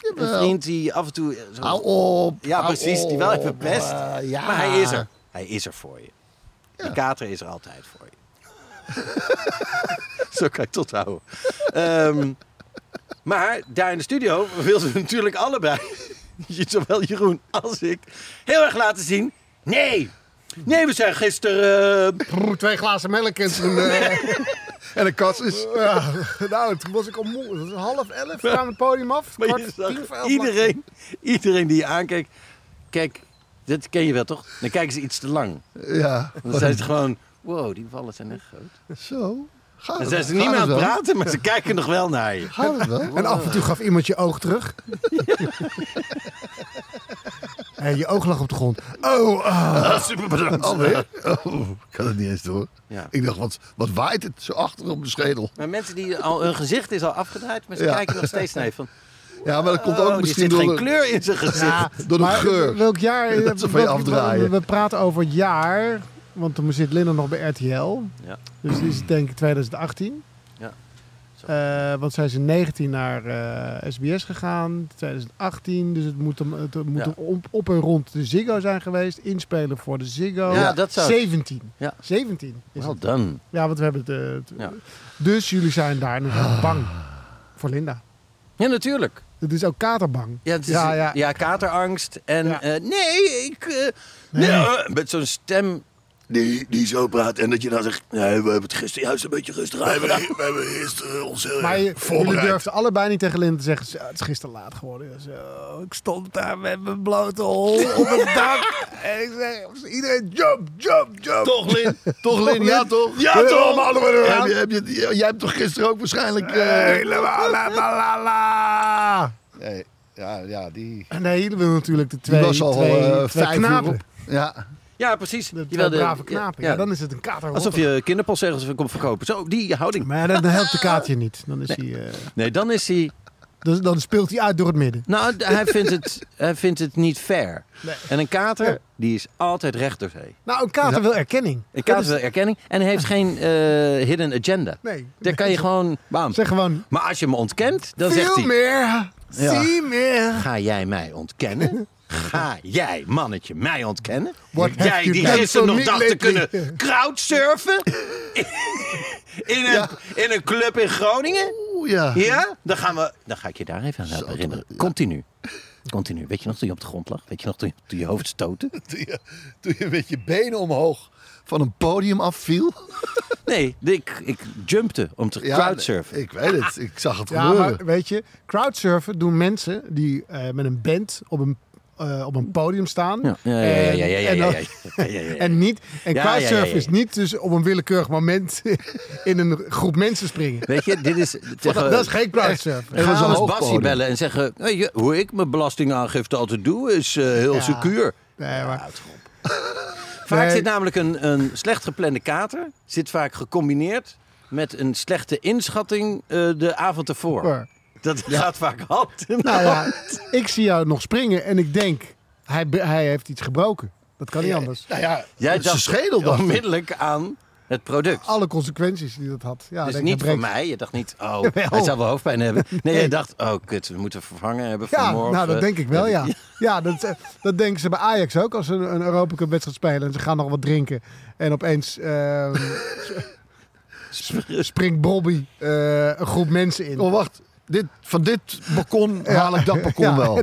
S1: Een
S2: Jawel.
S1: vriend die af en toe... eh, zo-
S2: hou op.
S1: ja,
S2: hou
S1: precies. Die wel
S2: op.
S1: even pest.
S2: Oh, Eh, ja.
S1: Maar hij is er. Hij is er voor je. Die kater is er altijd voor je. *laughs* Zo kan ik tot houden. Ehm, maar daar in de studio wilden we natuurlijk allebei, *laughs* zowel Jeroen als ik, heel erg laten zien. Nee! Nee, we zijn gisteren... *laughs* eh,
S3: Twee glazen melk en toen...
S2: eh,
S1: *laughs*
S2: En de kat is...
S3: *laughs* nou, toen was ik al moe. Het was half elf, we kwamen het podium af.
S1: maar
S3: kwart
S1: je
S3: voor
S1: zag
S3: tien voor elf
S1: iedereen, iedereen die je aankijkt. Kijk, dit ken je wel toch? Dan kijken ze iets te lang.
S2: Ja,
S1: Dan zijn ze gewoon... Wow, die vallen zijn echt groot.
S2: zo. Gaat
S1: Dan
S2: het
S1: zijn ze
S2: wel?
S1: niet meer
S2: Gaat
S1: aan het
S2: wel?
S1: praten, maar ze kijken nog wel naar je.
S2: Gaat het wel?
S3: En af en toe gaf iemand je oog
S1: *laughs*
S3: terug. en je oog lag op de grond.
S1: *laughs*
S2: Oh,
S1: ah,
S2: super bedankt. Alweer? Oh, ik kan het niet eens door.
S1: Ja.
S2: Ik dacht, wat, wat waait het zo achter op mijn schedel?
S1: Maar mensen die al hun gezicht is al afgedraaid, maar ze
S2: Ja.
S1: kijken nog steeds naar je van.
S2: Ja, maar dat komt
S1: oh,
S2: ook
S1: er
S2: misschien
S1: zit
S2: door...
S1: geen
S2: de-
S1: kleur in zijn gezicht.
S2: Door de
S3: maar
S2: geur.
S3: Welk jaar?
S2: *laughs*
S3: eh,
S2: Dat ze van je
S3: welk-
S2: afdraaien.
S3: We, we praten over het jaar, want toen zit Linda nog bij RTL.
S1: Ja.
S3: Dus is het denk ik 2018.
S1: Ja.
S3: Eh, want zij is in 19 naar eh, SBS gegaan, 2018. Dus het moet, hem, het moet
S1: Ja.
S3: op, op en rond de Ziggo zijn geweest. Inspelen voor de Ziggo.
S1: Ja, dat zou-
S3: 17.
S1: Ja.
S3: 17 is
S1: Well
S3: het.
S1: done.
S3: Ja, want we hebben het... eh, het-
S1: Ja.
S3: Dus jullie zijn daar inderdaad bang voor Linda.
S1: Ja, natuurlijk.
S3: Het is ook katerbang.
S1: Ja, het is-
S3: ja,
S1: ja,
S3: ja.
S1: katerangst. En
S3: Ja.
S1: eh, nee, ik. eh, nee, eh, met zo'n stem
S6: die, die zo praat en dat je dan zegt, nee, we hebben het gisteren juist een beetje rustig aan gedaan. We hebben eerst eh, ons eh,
S3: Maar je, jullie
S6: voorbereid.
S3: durfden allebei niet tegen Lin te zeggen, "Zo, het is gisteren laat geworden. Zo, ik stond daar met mijn blote hol op het dak. en ik zei, iedereen jump, jump, jump.
S6: Toch,
S2: *laughs*
S6: Lin? Toch, Lin? Ja, toch?
S3: Ja, toch?
S6: maar allemaal door.
S3: Ja.
S6: Heb je- heb je- j- Jij hebt toch gisteren ook waarschijnlijk... eh,
S3: Helemaal la la la la.
S2: Nee, ja, ja die,
S3: Nee, jullie willen natuurlijk de
S2: die
S3: twee,
S2: was al
S3: twee,
S2: eh,
S3: twee
S2: vijf uur
S3: knapen.
S2: op. Ja,
S1: Ja, precies.
S3: De
S1: Je
S3: twee
S1: wilde-
S3: brave knapen. Ja, dan is het een kater.
S1: Alsof je kinderpostzegels komt verkopen. Zo, die houding.
S3: Maar ja, dan helpt de kaartje niet. Dan, is hij, eh,
S1: Nee, dan is hij...
S3: dan, dan speelt hij uit door het midden.
S1: Nou, d-
S3: *laughs*
S1: hij vindt het, hij vindt het niet fair.
S3: Nee.
S1: En een kater,
S3: Ja.
S1: die is altijd recht door zee.
S3: Nou, een kater wil erkenning.
S1: Een
S3: Dat
S1: kater
S3: is-
S1: wil erkenning en hij heeft geen eh, hidden agenda.
S3: Nee.
S1: Daar kan je gewoon... Bam.
S3: Zeg gewoon,
S1: Maar als je me ontkent, dan zegt
S3: veel
S1: hij...
S3: meer, zie meer.
S1: Ga jij mij
S3: *laughs*
S1: ontkennen? Ga jij, mannetje, mij ontkennen?
S3: What have
S1: jij
S3: you
S1: die
S3: done
S1: gisteren
S3: for
S1: nog
S3: me
S1: dacht te
S3: lately?
S1: kunnen
S3: *laughs*
S1: crowdsurfen? in, een, in een club in Groningen?
S2: Oeh, *laughs* ja.
S1: Ja? Dan, gaan we, dan ga ik je daar even aan helpen herinneren. Continu. Continu. Weet je nog toen je op de grond lag? Weet je nog toen je, toen je hoofd stootte?
S2: Toen, je, toen je met je benen omhoog van een podium afviel.
S1: Nee, ik, ik jumpte om te
S2: Ja,
S1: crowdsurfen.
S2: Ik weet het, ik zag het
S3: Ja,
S2: gebeuren.
S3: maar weet je, crowdsurfen doen mensen die eh, met een band op een, eh, op een podium staan.
S1: Ja, ja, ja, ja, ja, ja, ja,
S3: en dan-
S1: ja, ja, ja, ja.
S3: En niet. En
S1: Ja,
S3: crowdsurfen
S1: ja, ja, ja.
S3: is niet dus op een willekeurig moment *laughs* in een groep mensen springen.
S1: Weet je, dit
S3: *laughs*
S1: is... tegen-
S3: dat is geen crowdsurfen.
S2: En
S1: Gaan
S2: dat is
S1: we
S2: een
S1: eens
S2: hoogpodium.
S1: Bassie bellen en zeggen... "Weet je, hoe ik mijn belastingaangifte altijd doe, is eh, heel
S3: Ja.
S1: secuur.
S3: Nee, maar,
S1: Vaak
S3: Nee.
S1: zit namelijk een, een slecht geplande kater... zit vaak gecombineerd met een slechte inschatting eh, de avond ervoor.
S3: Voor.
S1: Dat gaat vaak hand in
S3: nou ja,
S1: hand.
S3: ik zie jou nog springen en ik denk, hij, be- hij heeft iets gebroken. Dat kan niet anders.
S2: Nou ja,
S1: Jij
S2: zijn
S1: dacht
S2: schedel dacht ik.
S1: onmiddellijk aan het product.
S3: Alle consequenties die Ah, dat had. Ja,
S1: dus
S3: denk,
S1: niet
S3: hij
S1: voor
S3: breekt.
S1: mij. Je dacht niet,
S3: *laughs*
S1: oh,
S3: Jawel.
S1: hij zou wel hoofdpijn hebben. Nee, jij dacht, oh kut, we moeten vervangen hebben voor
S3: Ja,
S1: morgen.
S3: nou dat denk ik wel, ja. Ja, dat, dat denken ze bij Ajax ook. Als ze een, een Europa Cup wedstrijd spelen en ze gaan nog wat drinken. En opeens ehm,
S2: *laughs*
S3: springt Bobby eh, een groep mensen in.
S2: Oh, wacht. Dit, van dit balkon haal ik dat balkon
S3: *laughs* Ja.
S2: wel.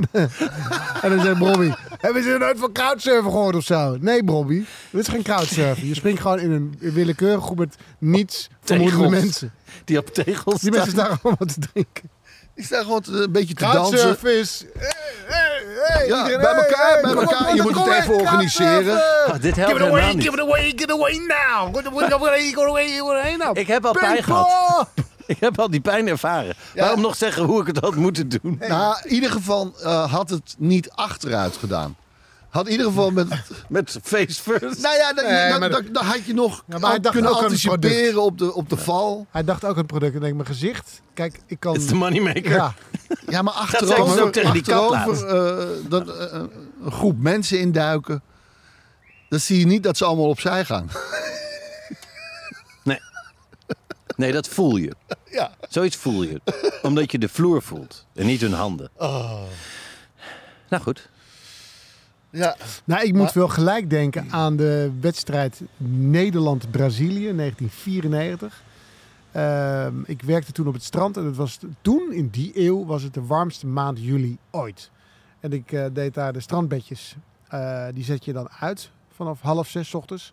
S3: En dan zegt Bobby, hebben ze nooit van crowdsurfen gehoord of zo? Nee Bobby, dit is geen crowdsurfen. Je springt gewoon in een willekeurige groep met niets vermoedende
S1: Tegels.
S3: mensen.
S1: Die op tegels
S3: Die mensen
S1: staan.
S3: staan gewoon wat te drinken.
S2: Ik sta gewoon te- een beetje te dansen.
S3: Crowdsurfen is... Hey, hey, hey,
S2: Ja,
S3: iedereen,
S2: bij
S3: hey,
S2: elkaar,
S3: hey,
S2: bij
S3: kom op,
S2: elkaar. Je
S3: kom op,
S2: moet het
S3: kom op,
S2: even organiseren.
S3: crowdsurfen.
S1: Oh, dit helpt helemaal niet.
S3: it away, give it away now. Give it away, give it away, give it away now.
S1: Ik heb al pijn
S3: Paintball.
S1: gehad. *laughs* Ik heb al die pijn ervaren. Waarom nog zeggen hoe ik het had moeten doen?
S2: Nou, in ieder geval eh, had het niet achteruit gedaan. Had in ieder geval met...
S1: Met face first.
S2: Nou ja, dan,
S3: Nee,
S2: dan,
S3: maar-
S2: dan- dan had je nog
S3: Ja, maar hij dacht
S2: kunnen
S3: ook aan het product.
S2: anticiperen op de, op de val.
S3: Hij dacht ook aan het product. En ik denk, mijn gezicht. Kijk, ik kan...
S1: It's the moneymaker.
S3: *laughs* Ja,
S2: Ja, maar
S1: zei ik dus
S2: achterover,
S1: ook tegen die
S2: achterover eh, dat, eh, een groep mensen induiken. Dan zie je niet dat ze allemaal opzij gaan.
S1: Nee. nee, dat voel je.
S2: Ja.
S1: Zoiets voel je. Omdat je de vloer voelt en niet hun handen.
S3: Oh.
S1: Nou goed.
S2: Ja.
S3: nou ik moet wel gelijk denken aan de wedstrijd Nederland-Brazilië 1994. Ehm, ik werkte toen op het strand en het was t- toen, in die eeuw, was het de warmste maand juli ooit. En ik eh, deed daar de strandbedjes. Eh, die zet je dan uit vanaf half zes 's ochtends.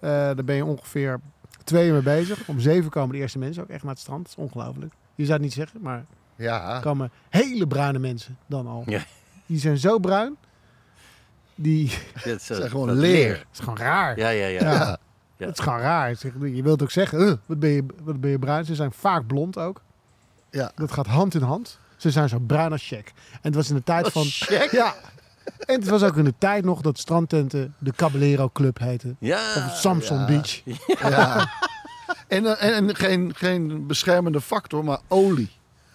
S3: Eh daar ben je ongeveer twee uur mee bezig. Om zeven komen de eerste mensen ook echt naar het strand. Dat is ongelooflijk. Je zou het niet zeggen, maar *laughs*
S2: Ja.
S3: komen hele bruine mensen dan al.
S1: *laughs* Ja.
S3: Die zijn zo bruin.
S1: *laughs*
S3: Die *laughs*
S1: Dit is, eh,
S2: zijn gewoon
S1: dat
S2: leer.
S3: is gewoon raar.
S1: Ja, ja, ja.
S3: Ja.
S1: Ja.
S3: Het is gewoon raar. Ik zeg, Je wilt ook zeggen, "Eh, wat, ben je, wat ben je bruin. Ze zijn vaak blond ook.
S2: Ja.
S3: Dat gaat hand in hand. Ze zijn zo bruin als check. En het was in de tijd van... Ja. En het was ook in de tijd nog dat strandtenten de Caballero Club heten.
S1: Ja.
S3: Of Samson Beach.
S2: ja. En, eh, en, en geen, geen beschermende factor, maar olie.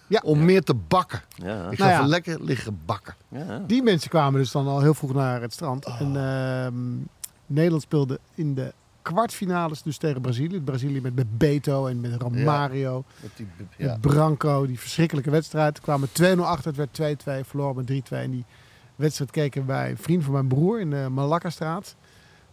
S3: Ja.
S2: Om meer te bakken.
S1: Ja.
S2: Ik ga
S3: Nou ja.
S2: even lekker liggen bakken.
S1: Ja.
S3: Die mensen kwamen dus dan al heel vroeg naar het strand. En ehm, Nederland speelde in de kwartfinales dus tegen Brazilië. Brazilië met Bebeto en met Romario.
S2: Met die,
S3: Met Branco, die verschrikkelijke wedstrijd. Kwamen 2-0 achter, het werd 2-2, verloren met 3-2. En die wedstrijd keken wij een vriend van mijn broer in de Malakkastraat.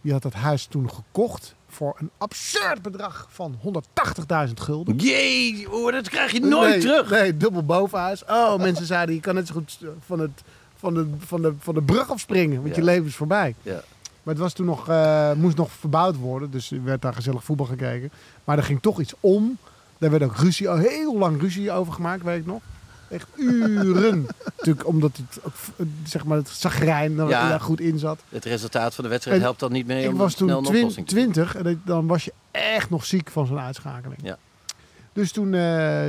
S3: Die had dat huis toen gekocht voor een absurd bedrag van 180.000 gulden.
S1: Jee, hoor, oh, dat krijg je nooit
S3: Nee,
S1: terug.
S3: Nee, dubbel bovenhuis. Oh, mensen eh, zeiden, je kan net zo goed van, het, van, de, van, de, van de brug afspringen, want
S1: Ja.
S3: je leven is voorbij.
S1: Ja.
S3: Maar het was toen nog, eh, moest nog verbouwd worden. Dus er werd daar gezellig voetbal gekeken. Maar er ging toch iets om. Daar werd ook ruzie, oh, heel lang ruzie over gemaakt, weet ik nog. Echt
S1: *laughs*
S3: uren. Natuurlijk omdat het, ook, eh, zeg maar, het zagrijn er
S1: Ja.
S3: ja. goed in zat.
S1: Het resultaat van de wedstrijd
S3: En
S1: helpt dan niet mee
S3: ik
S1: om
S3: was
S1: snel
S3: toen
S1: een
S3: twin-
S1: oplossing te vinden.
S3: 20 en ik- dan was je echt nog ziek van zo'n uitschakeling.
S1: Ja.
S3: Dus toen eh,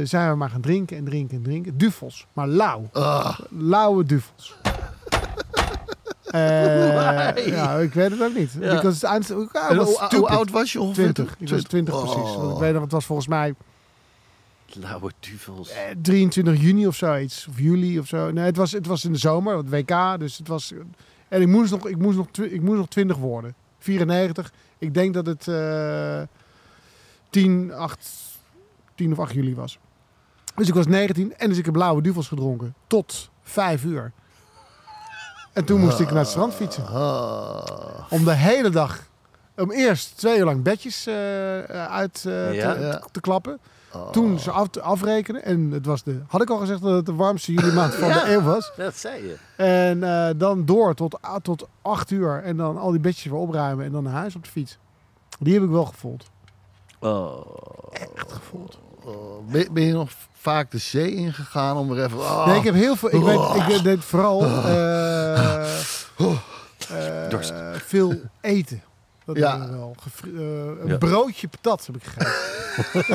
S3: zijn we maar gaan drinken en drinken en drinken. Duvels, maar lauw. Lauwe
S2: *laughs*
S3: duvels. Eh, ja, ik weet het ook niet.
S1: Ja.
S3: Because it's I'm stu- I
S2: En
S3: was
S2: hoe,
S3: stupid.
S2: hoe oud was je ongeveer? Oh.
S3: 20. Ik was 20 precies. Want ik weet nog, het was volgens mij
S1: Lauwe duvels.
S3: eh, 23 juni of zoiets. Of juli of zo. Nee, het was, het was in de zomer, het WK. Dus het was... En ik moest nog, ik moest nog, twi- ik moest nog 20 worden. 94. Ik denk dat het eh 10, 8, 10 of 8 juli was. Dus ik was 19 en dus ik heb blauwe duvels gedronken. Tot 5 uur. En toen moest ik naar het strand fietsen.
S1: Ah.
S3: Om de hele dag... Om eerst twee uur lang bedjes eh, eh, uit eh,
S1: Ja. Oh.
S3: te, te klappen. Toen ze af, afrekenen. En het was de, had ik al gezegd dat het de warmste juli maand
S1: *laughs*
S3: van
S1: Ja.
S3: de eeuw was.
S1: Dat zei je.
S3: En eh, dan door tot, a- tot acht uur. En dan al die bedjes weer opruimen. En dan naar huis op de fiets. Die heb ik wel gevoeld.
S2: Ben, ben je nog vaak de zee ingegaan om er even... Ah,
S3: Nee, ik heb heel veel. Ik, weet,
S2: Oh.
S3: ik weet- deed vooral eh, eh, veel eten. Dat
S2: Ja.
S3: deed ik wel. Gefri- eh, een
S1: Ja.
S3: broodje patat heb ik
S2: *laughs*
S3: gegeten.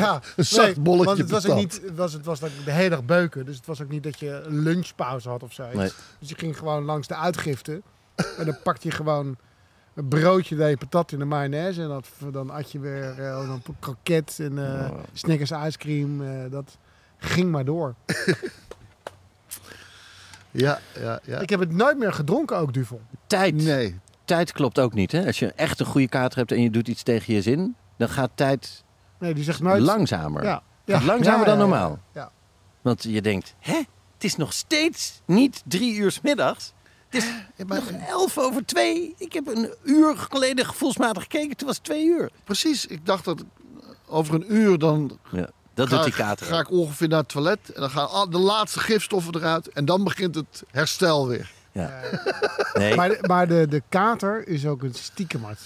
S3: ja,
S2: een zacht bolletje
S3: want het was ook
S2: patat.
S3: niet, het was, het was dat ik de hele dag beuken. Dus het was ook niet dat je een lunchpauze had of zo.
S1: Nee.
S3: Dus je ging gewoon langs de uitgifte. *laughs* en dan pakte je gewoon een broodje, deed je patat in de mayonaise. En dat, dan at je weer eh, dan een kroket en eh
S2: Oh.
S3: Snickers ijscream. eh, dat ging maar door.
S2: Ja, ja, ja.
S3: Ik heb het nooit meer gedronken ook, Duvel.
S1: Tijd.
S2: Nee.
S1: Tijd klopt ook niet. Hè? Als je echt een goede kater hebt en je doet iets tegen je zin, dan gaat tijd
S3: Nee, die zegt nooit...
S1: langzamer.
S3: Ja.
S1: Gaat
S3: Ja.
S1: langzamer
S3: Ja,
S1: dan
S3: ja, ja.
S1: normaal.
S3: Ja.
S1: Want je denkt, hè? Het is nog steeds niet drie uur 's middags. Het is nog elf over twee. Ik heb een uur geleden gevoelsmatig gekeken. Toen was het twee uur.
S2: Precies. Ik dacht dat over een uur dan...
S1: Ja, dat
S2: ga,
S1: doet die kater.
S2: ga ik ongeveer naar het toilet. En dan gaan al de laatste gifstoffen eruit. En dan begint het herstel weer.
S1: Ja. Nee.
S3: Maar, de- maar de, de kater is ook een stiekemart.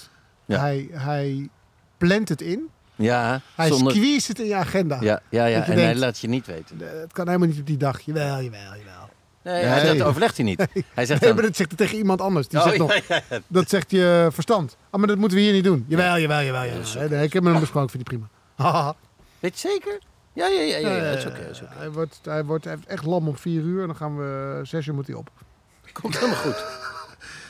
S1: Ja.
S3: Hij, hij plant het in.
S1: ja,
S3: Hij
S1: zonder...
S3: squeeze het in je agenda.
S1: Ja, ja, ja.
S3: Dat je
S1: en hij
S3: denkt,
S1: laat je niet weten.
S3: "Eh, Het kan helemaal niet op die dag. Jawel, jawel, jawel.
S1: Nee, hij-
S2: Nee.
S1: dat overlegt hij niet. Hij zegt
S3: Nee,
S1: dan...
S3: maar dat zegt hij tegen iemand anders. Die
S1: Oh,
S3: zegt
S1: ja,
S3: nog,
S1: ja, ja.
S3: Dat zegt je verstand. Ah, maar dat moeten we hier niet doen. Jawel, jawel, jawel. jawel. Nee, ik heb met hem besproken, vind ik prima. Haha.
S1: Weet je zeker? Ja, ja, ja. ja, ja. Dat is oké. dat is oké.
S3: Eh, hij, wordt, hij wordt hij heeft echt lam om vier uur. En dan gaan we... Zes uur moet hij op.
S1: Komt helemaal goed.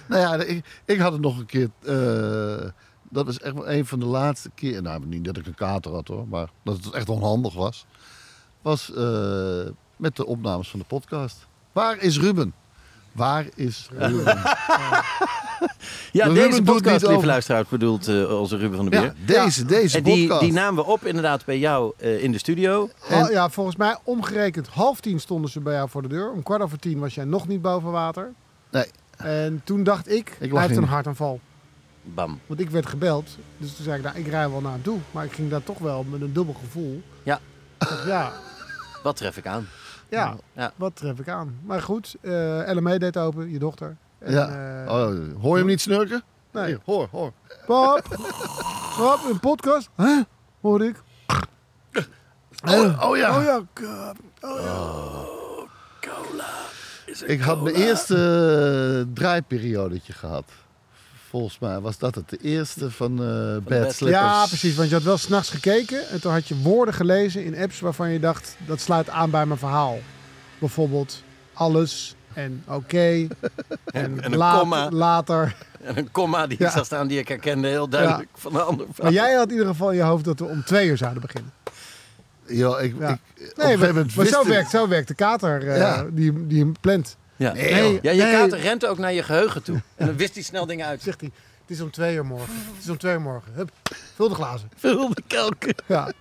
S2: Nou ja, ik, ik had het nog een keer. eh, dat is echt wel een van de laatste keer. Nou, niet dat ik een kater had hoor, maar dat het echt onhandig was. Was eh, met de opnames van de podcast. Waar is Ruben? Waar is Ruben?
S1: Ja,
S2: Maar Ruben
S1: deze
S2: doet niet
S1: podcast, lieve
S2: over.
S1: luisteraars, bedoelt eh, onze Ruben van der Beer.
S2: Ja, deze, deze
S1: en die,
S2: podcast.
S1: die namen we op inderdaad bij jou eh, in de studio.
S3: Hal- Oh, ja, volgens mij omgerekend half tien stonden ze bij jou voor de deur. Om kwart over tien was jij nog niet boven water.
S2: Nee,
S3: En toen dacht ik, hij
S2: lag
S3: heeft
S2: in.
S3: een hartaanval.
S1: Bam.
S3: Want ik werd gebeld. Dus toen zei ik, nou, ik rij wel naar hem toe. Maar ik ging daar toch wel met een dubbel gevoel.
S1: Ja.
S3: Ik dacht, ja,
S1: Wat tref ik aan?
S3: ja,
S1: Ja.
S3: wat tref ik aan. Maar goed, eh LME deed open, je dochter. En,
S2: ja.
S3: eh,
S2: Oh, hoor je hem niet snurken?
S3: Nee.
S2: Hier, hoor, hoor.
S3: Pap, pap, een podcast. Huh? Hoorde ik.
S2: Oh, oh ja. Oh.
S3: Oh ja, Oh k-
S2: Ik had mijn eerste eh, draaiperiodetje gehad. Volgens mij was dat het. De eerste van eh Bad
S1: Bad
S2: Slippers.
S3: Ja, precies. Want je had wel s'nachts gekeken en toen had je woorden gelezen in apps waarvan je dacht, dat sluit aan bij mijn verhaal. Bijvoorbeeld alles en oké
S2: *laughs*
S3: en,
S1: en een
S3: laat-
S1: komma.
S3: later.
S1: En een komma die
S3: Ja.
S1: zag staan die ik herkende heel duidelijk van een ander verhaal.
S3: Maar jij had in ieder geval in je hoofd dat we om twee uur zouden beginnen.
S2: Ja, ik,
S3: Ja.
S2: ik, op een
S3: Nee,
S2: gegeven
S3: maar,
S2: moment
S3: maar
S2: wist
S3: zo,
S2: ik-
S3: werkt, zo werkt de kater eh,
S2: Ja.
S3: die, die hem plant.
S1: Ja,
S3: Nee,
S1: ja je
S3: nee.
S1: kater rent ook naar je geheugen toe. En dan wist hij snel dingen uit.
S3: Zegt hij, het is om twee uur morgen. Het is om twee uur morgen. Hup, vul de
S2: *laughs*
S3: glazen.
S1: Vul de kelken.
S2: Je
S3: Ja.
S2: hebt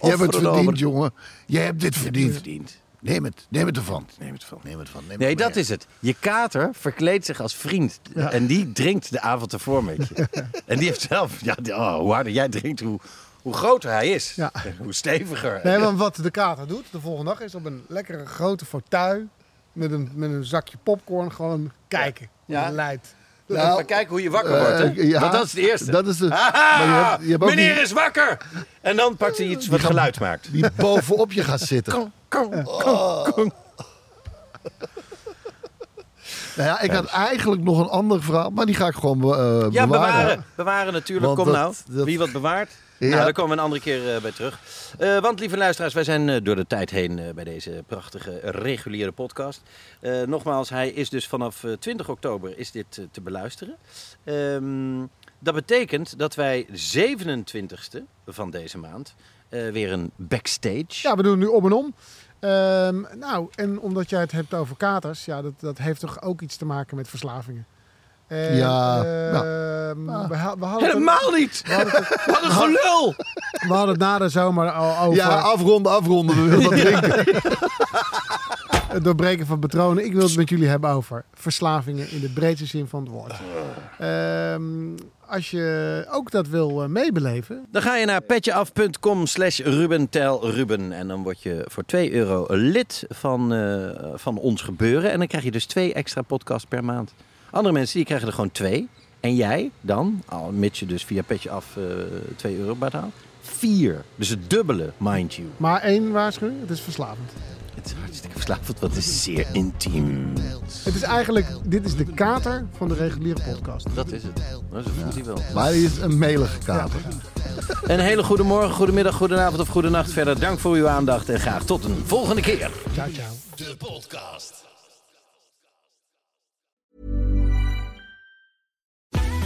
S2: het
S1: Godverdomme.
S2: verdiend, jongen. Je hebt dit verdiend.
S1: Verdiend.
S2: Neem het. Neem het ervan. Neem het ervan. Neem het ervan. Neem
S1: Nee,
S2: het
S1: dat is het. Je kater verkleedt zich als vriend. En die drinkt de avond ervoor met
S2: *laughs*
S1: je. en die heeft zelf... Ja, die- oh, hoe harder jij drinkt, hoe, hoe groter hij is.
S3: Ja.
S1: En *laughs* hoe steviger.
S3: Nee, want wat de kater doet de volgende dag is op een lekkere grote fauteuil met een, met een zakje popcorn gewoon kijken.
S1: Ja.
S3: Ja. Leidt.
S2: Nou,
S1: Even kijken hoe je wakker wordt. Hè?
S2: Eh, ja,
S1: Want dat is het eerste.
S2: Dat is de,
S1: Haha,
S2: maar je hebt- je hebt ook
S1: meneer
S2: die-
S1: is wakker! En dan pakt hij iets wat
S2: gaan-
S1: geluid maakt.
S2: die bovenop je gaat zitten. Nou ja, ik had eigenlijk nog een ander verhaal, maar die ga ik gewoon eh, bewaren.
S1: Ja, bewaren. Bewaren natuurlijk.
S2: Want
S1: Kom
S2: dat-
S1: nou.
S2: dat-
S1: Wie wat bewaart.
S2: Ja.
S1: Nou, daar komen we een andere keer eh, bij terug. Eh, want lieve luisteraars, wij zijn eh, door de tijd heen eh, bij deze prachtige eh, reguliere podcast. Eh, nogmaals, hij is dus vanaf eh, 20 oktober is dit eh, te beluisteren. Ehm, dat betekent dat wij 27e van deze maand eh, weer een backstage.
S3: Ja, we doen nu om en om. Ehm, nou, en omdat jij het hebt over katers, ja, dat, dat heeft toch ook iets te maken met verslavingen. En,
S2: Ja,
S3: ehm, we, ha- we hadden het-
S1: Helemaal niet! *laughs* Wat een gelul!
S3: we hadden het na de zomer al over
S2: Ja, afronden, afronden. We *laughs* willen wat drinken.
S3: het doorbreken van patronen. Ik wil het met jullie hebben over verslavingen in de breedste zin van het woord. Ehm, als je ook dat wil eh, meebeleven,
S1: Dan ga je naar petjeaf.com slash rubentelruben. En dan word je voor 2 euro lid van, eh, van ons gebeuren. En dan krijg je dus twee extra podcasts per maand. Andere mensen die krijgen er gewoon twee. En jij dan, al mits je dus via petjeaf eh 2 euro betaalt, vier. Dus het dubbele, mind you.
S3: maar één waarschuwing, het is verslavend.
S1: Het is hartstikke verslavend, want het is zeer intiem.
S3: Het is eigenlijk, dit is de kater van de reguliere podcast.
S1: Dat is het. Dat is voelt hij wel.
S2: Maar die is een melige kater.
S1: Een hele goede morgen, goede middag, goede avond of goede nacht. Verder dank voor uw aandacht en graag tot een volgende keer.
S3: Ciao, ciao.
S6: De podcast.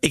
S7: Ik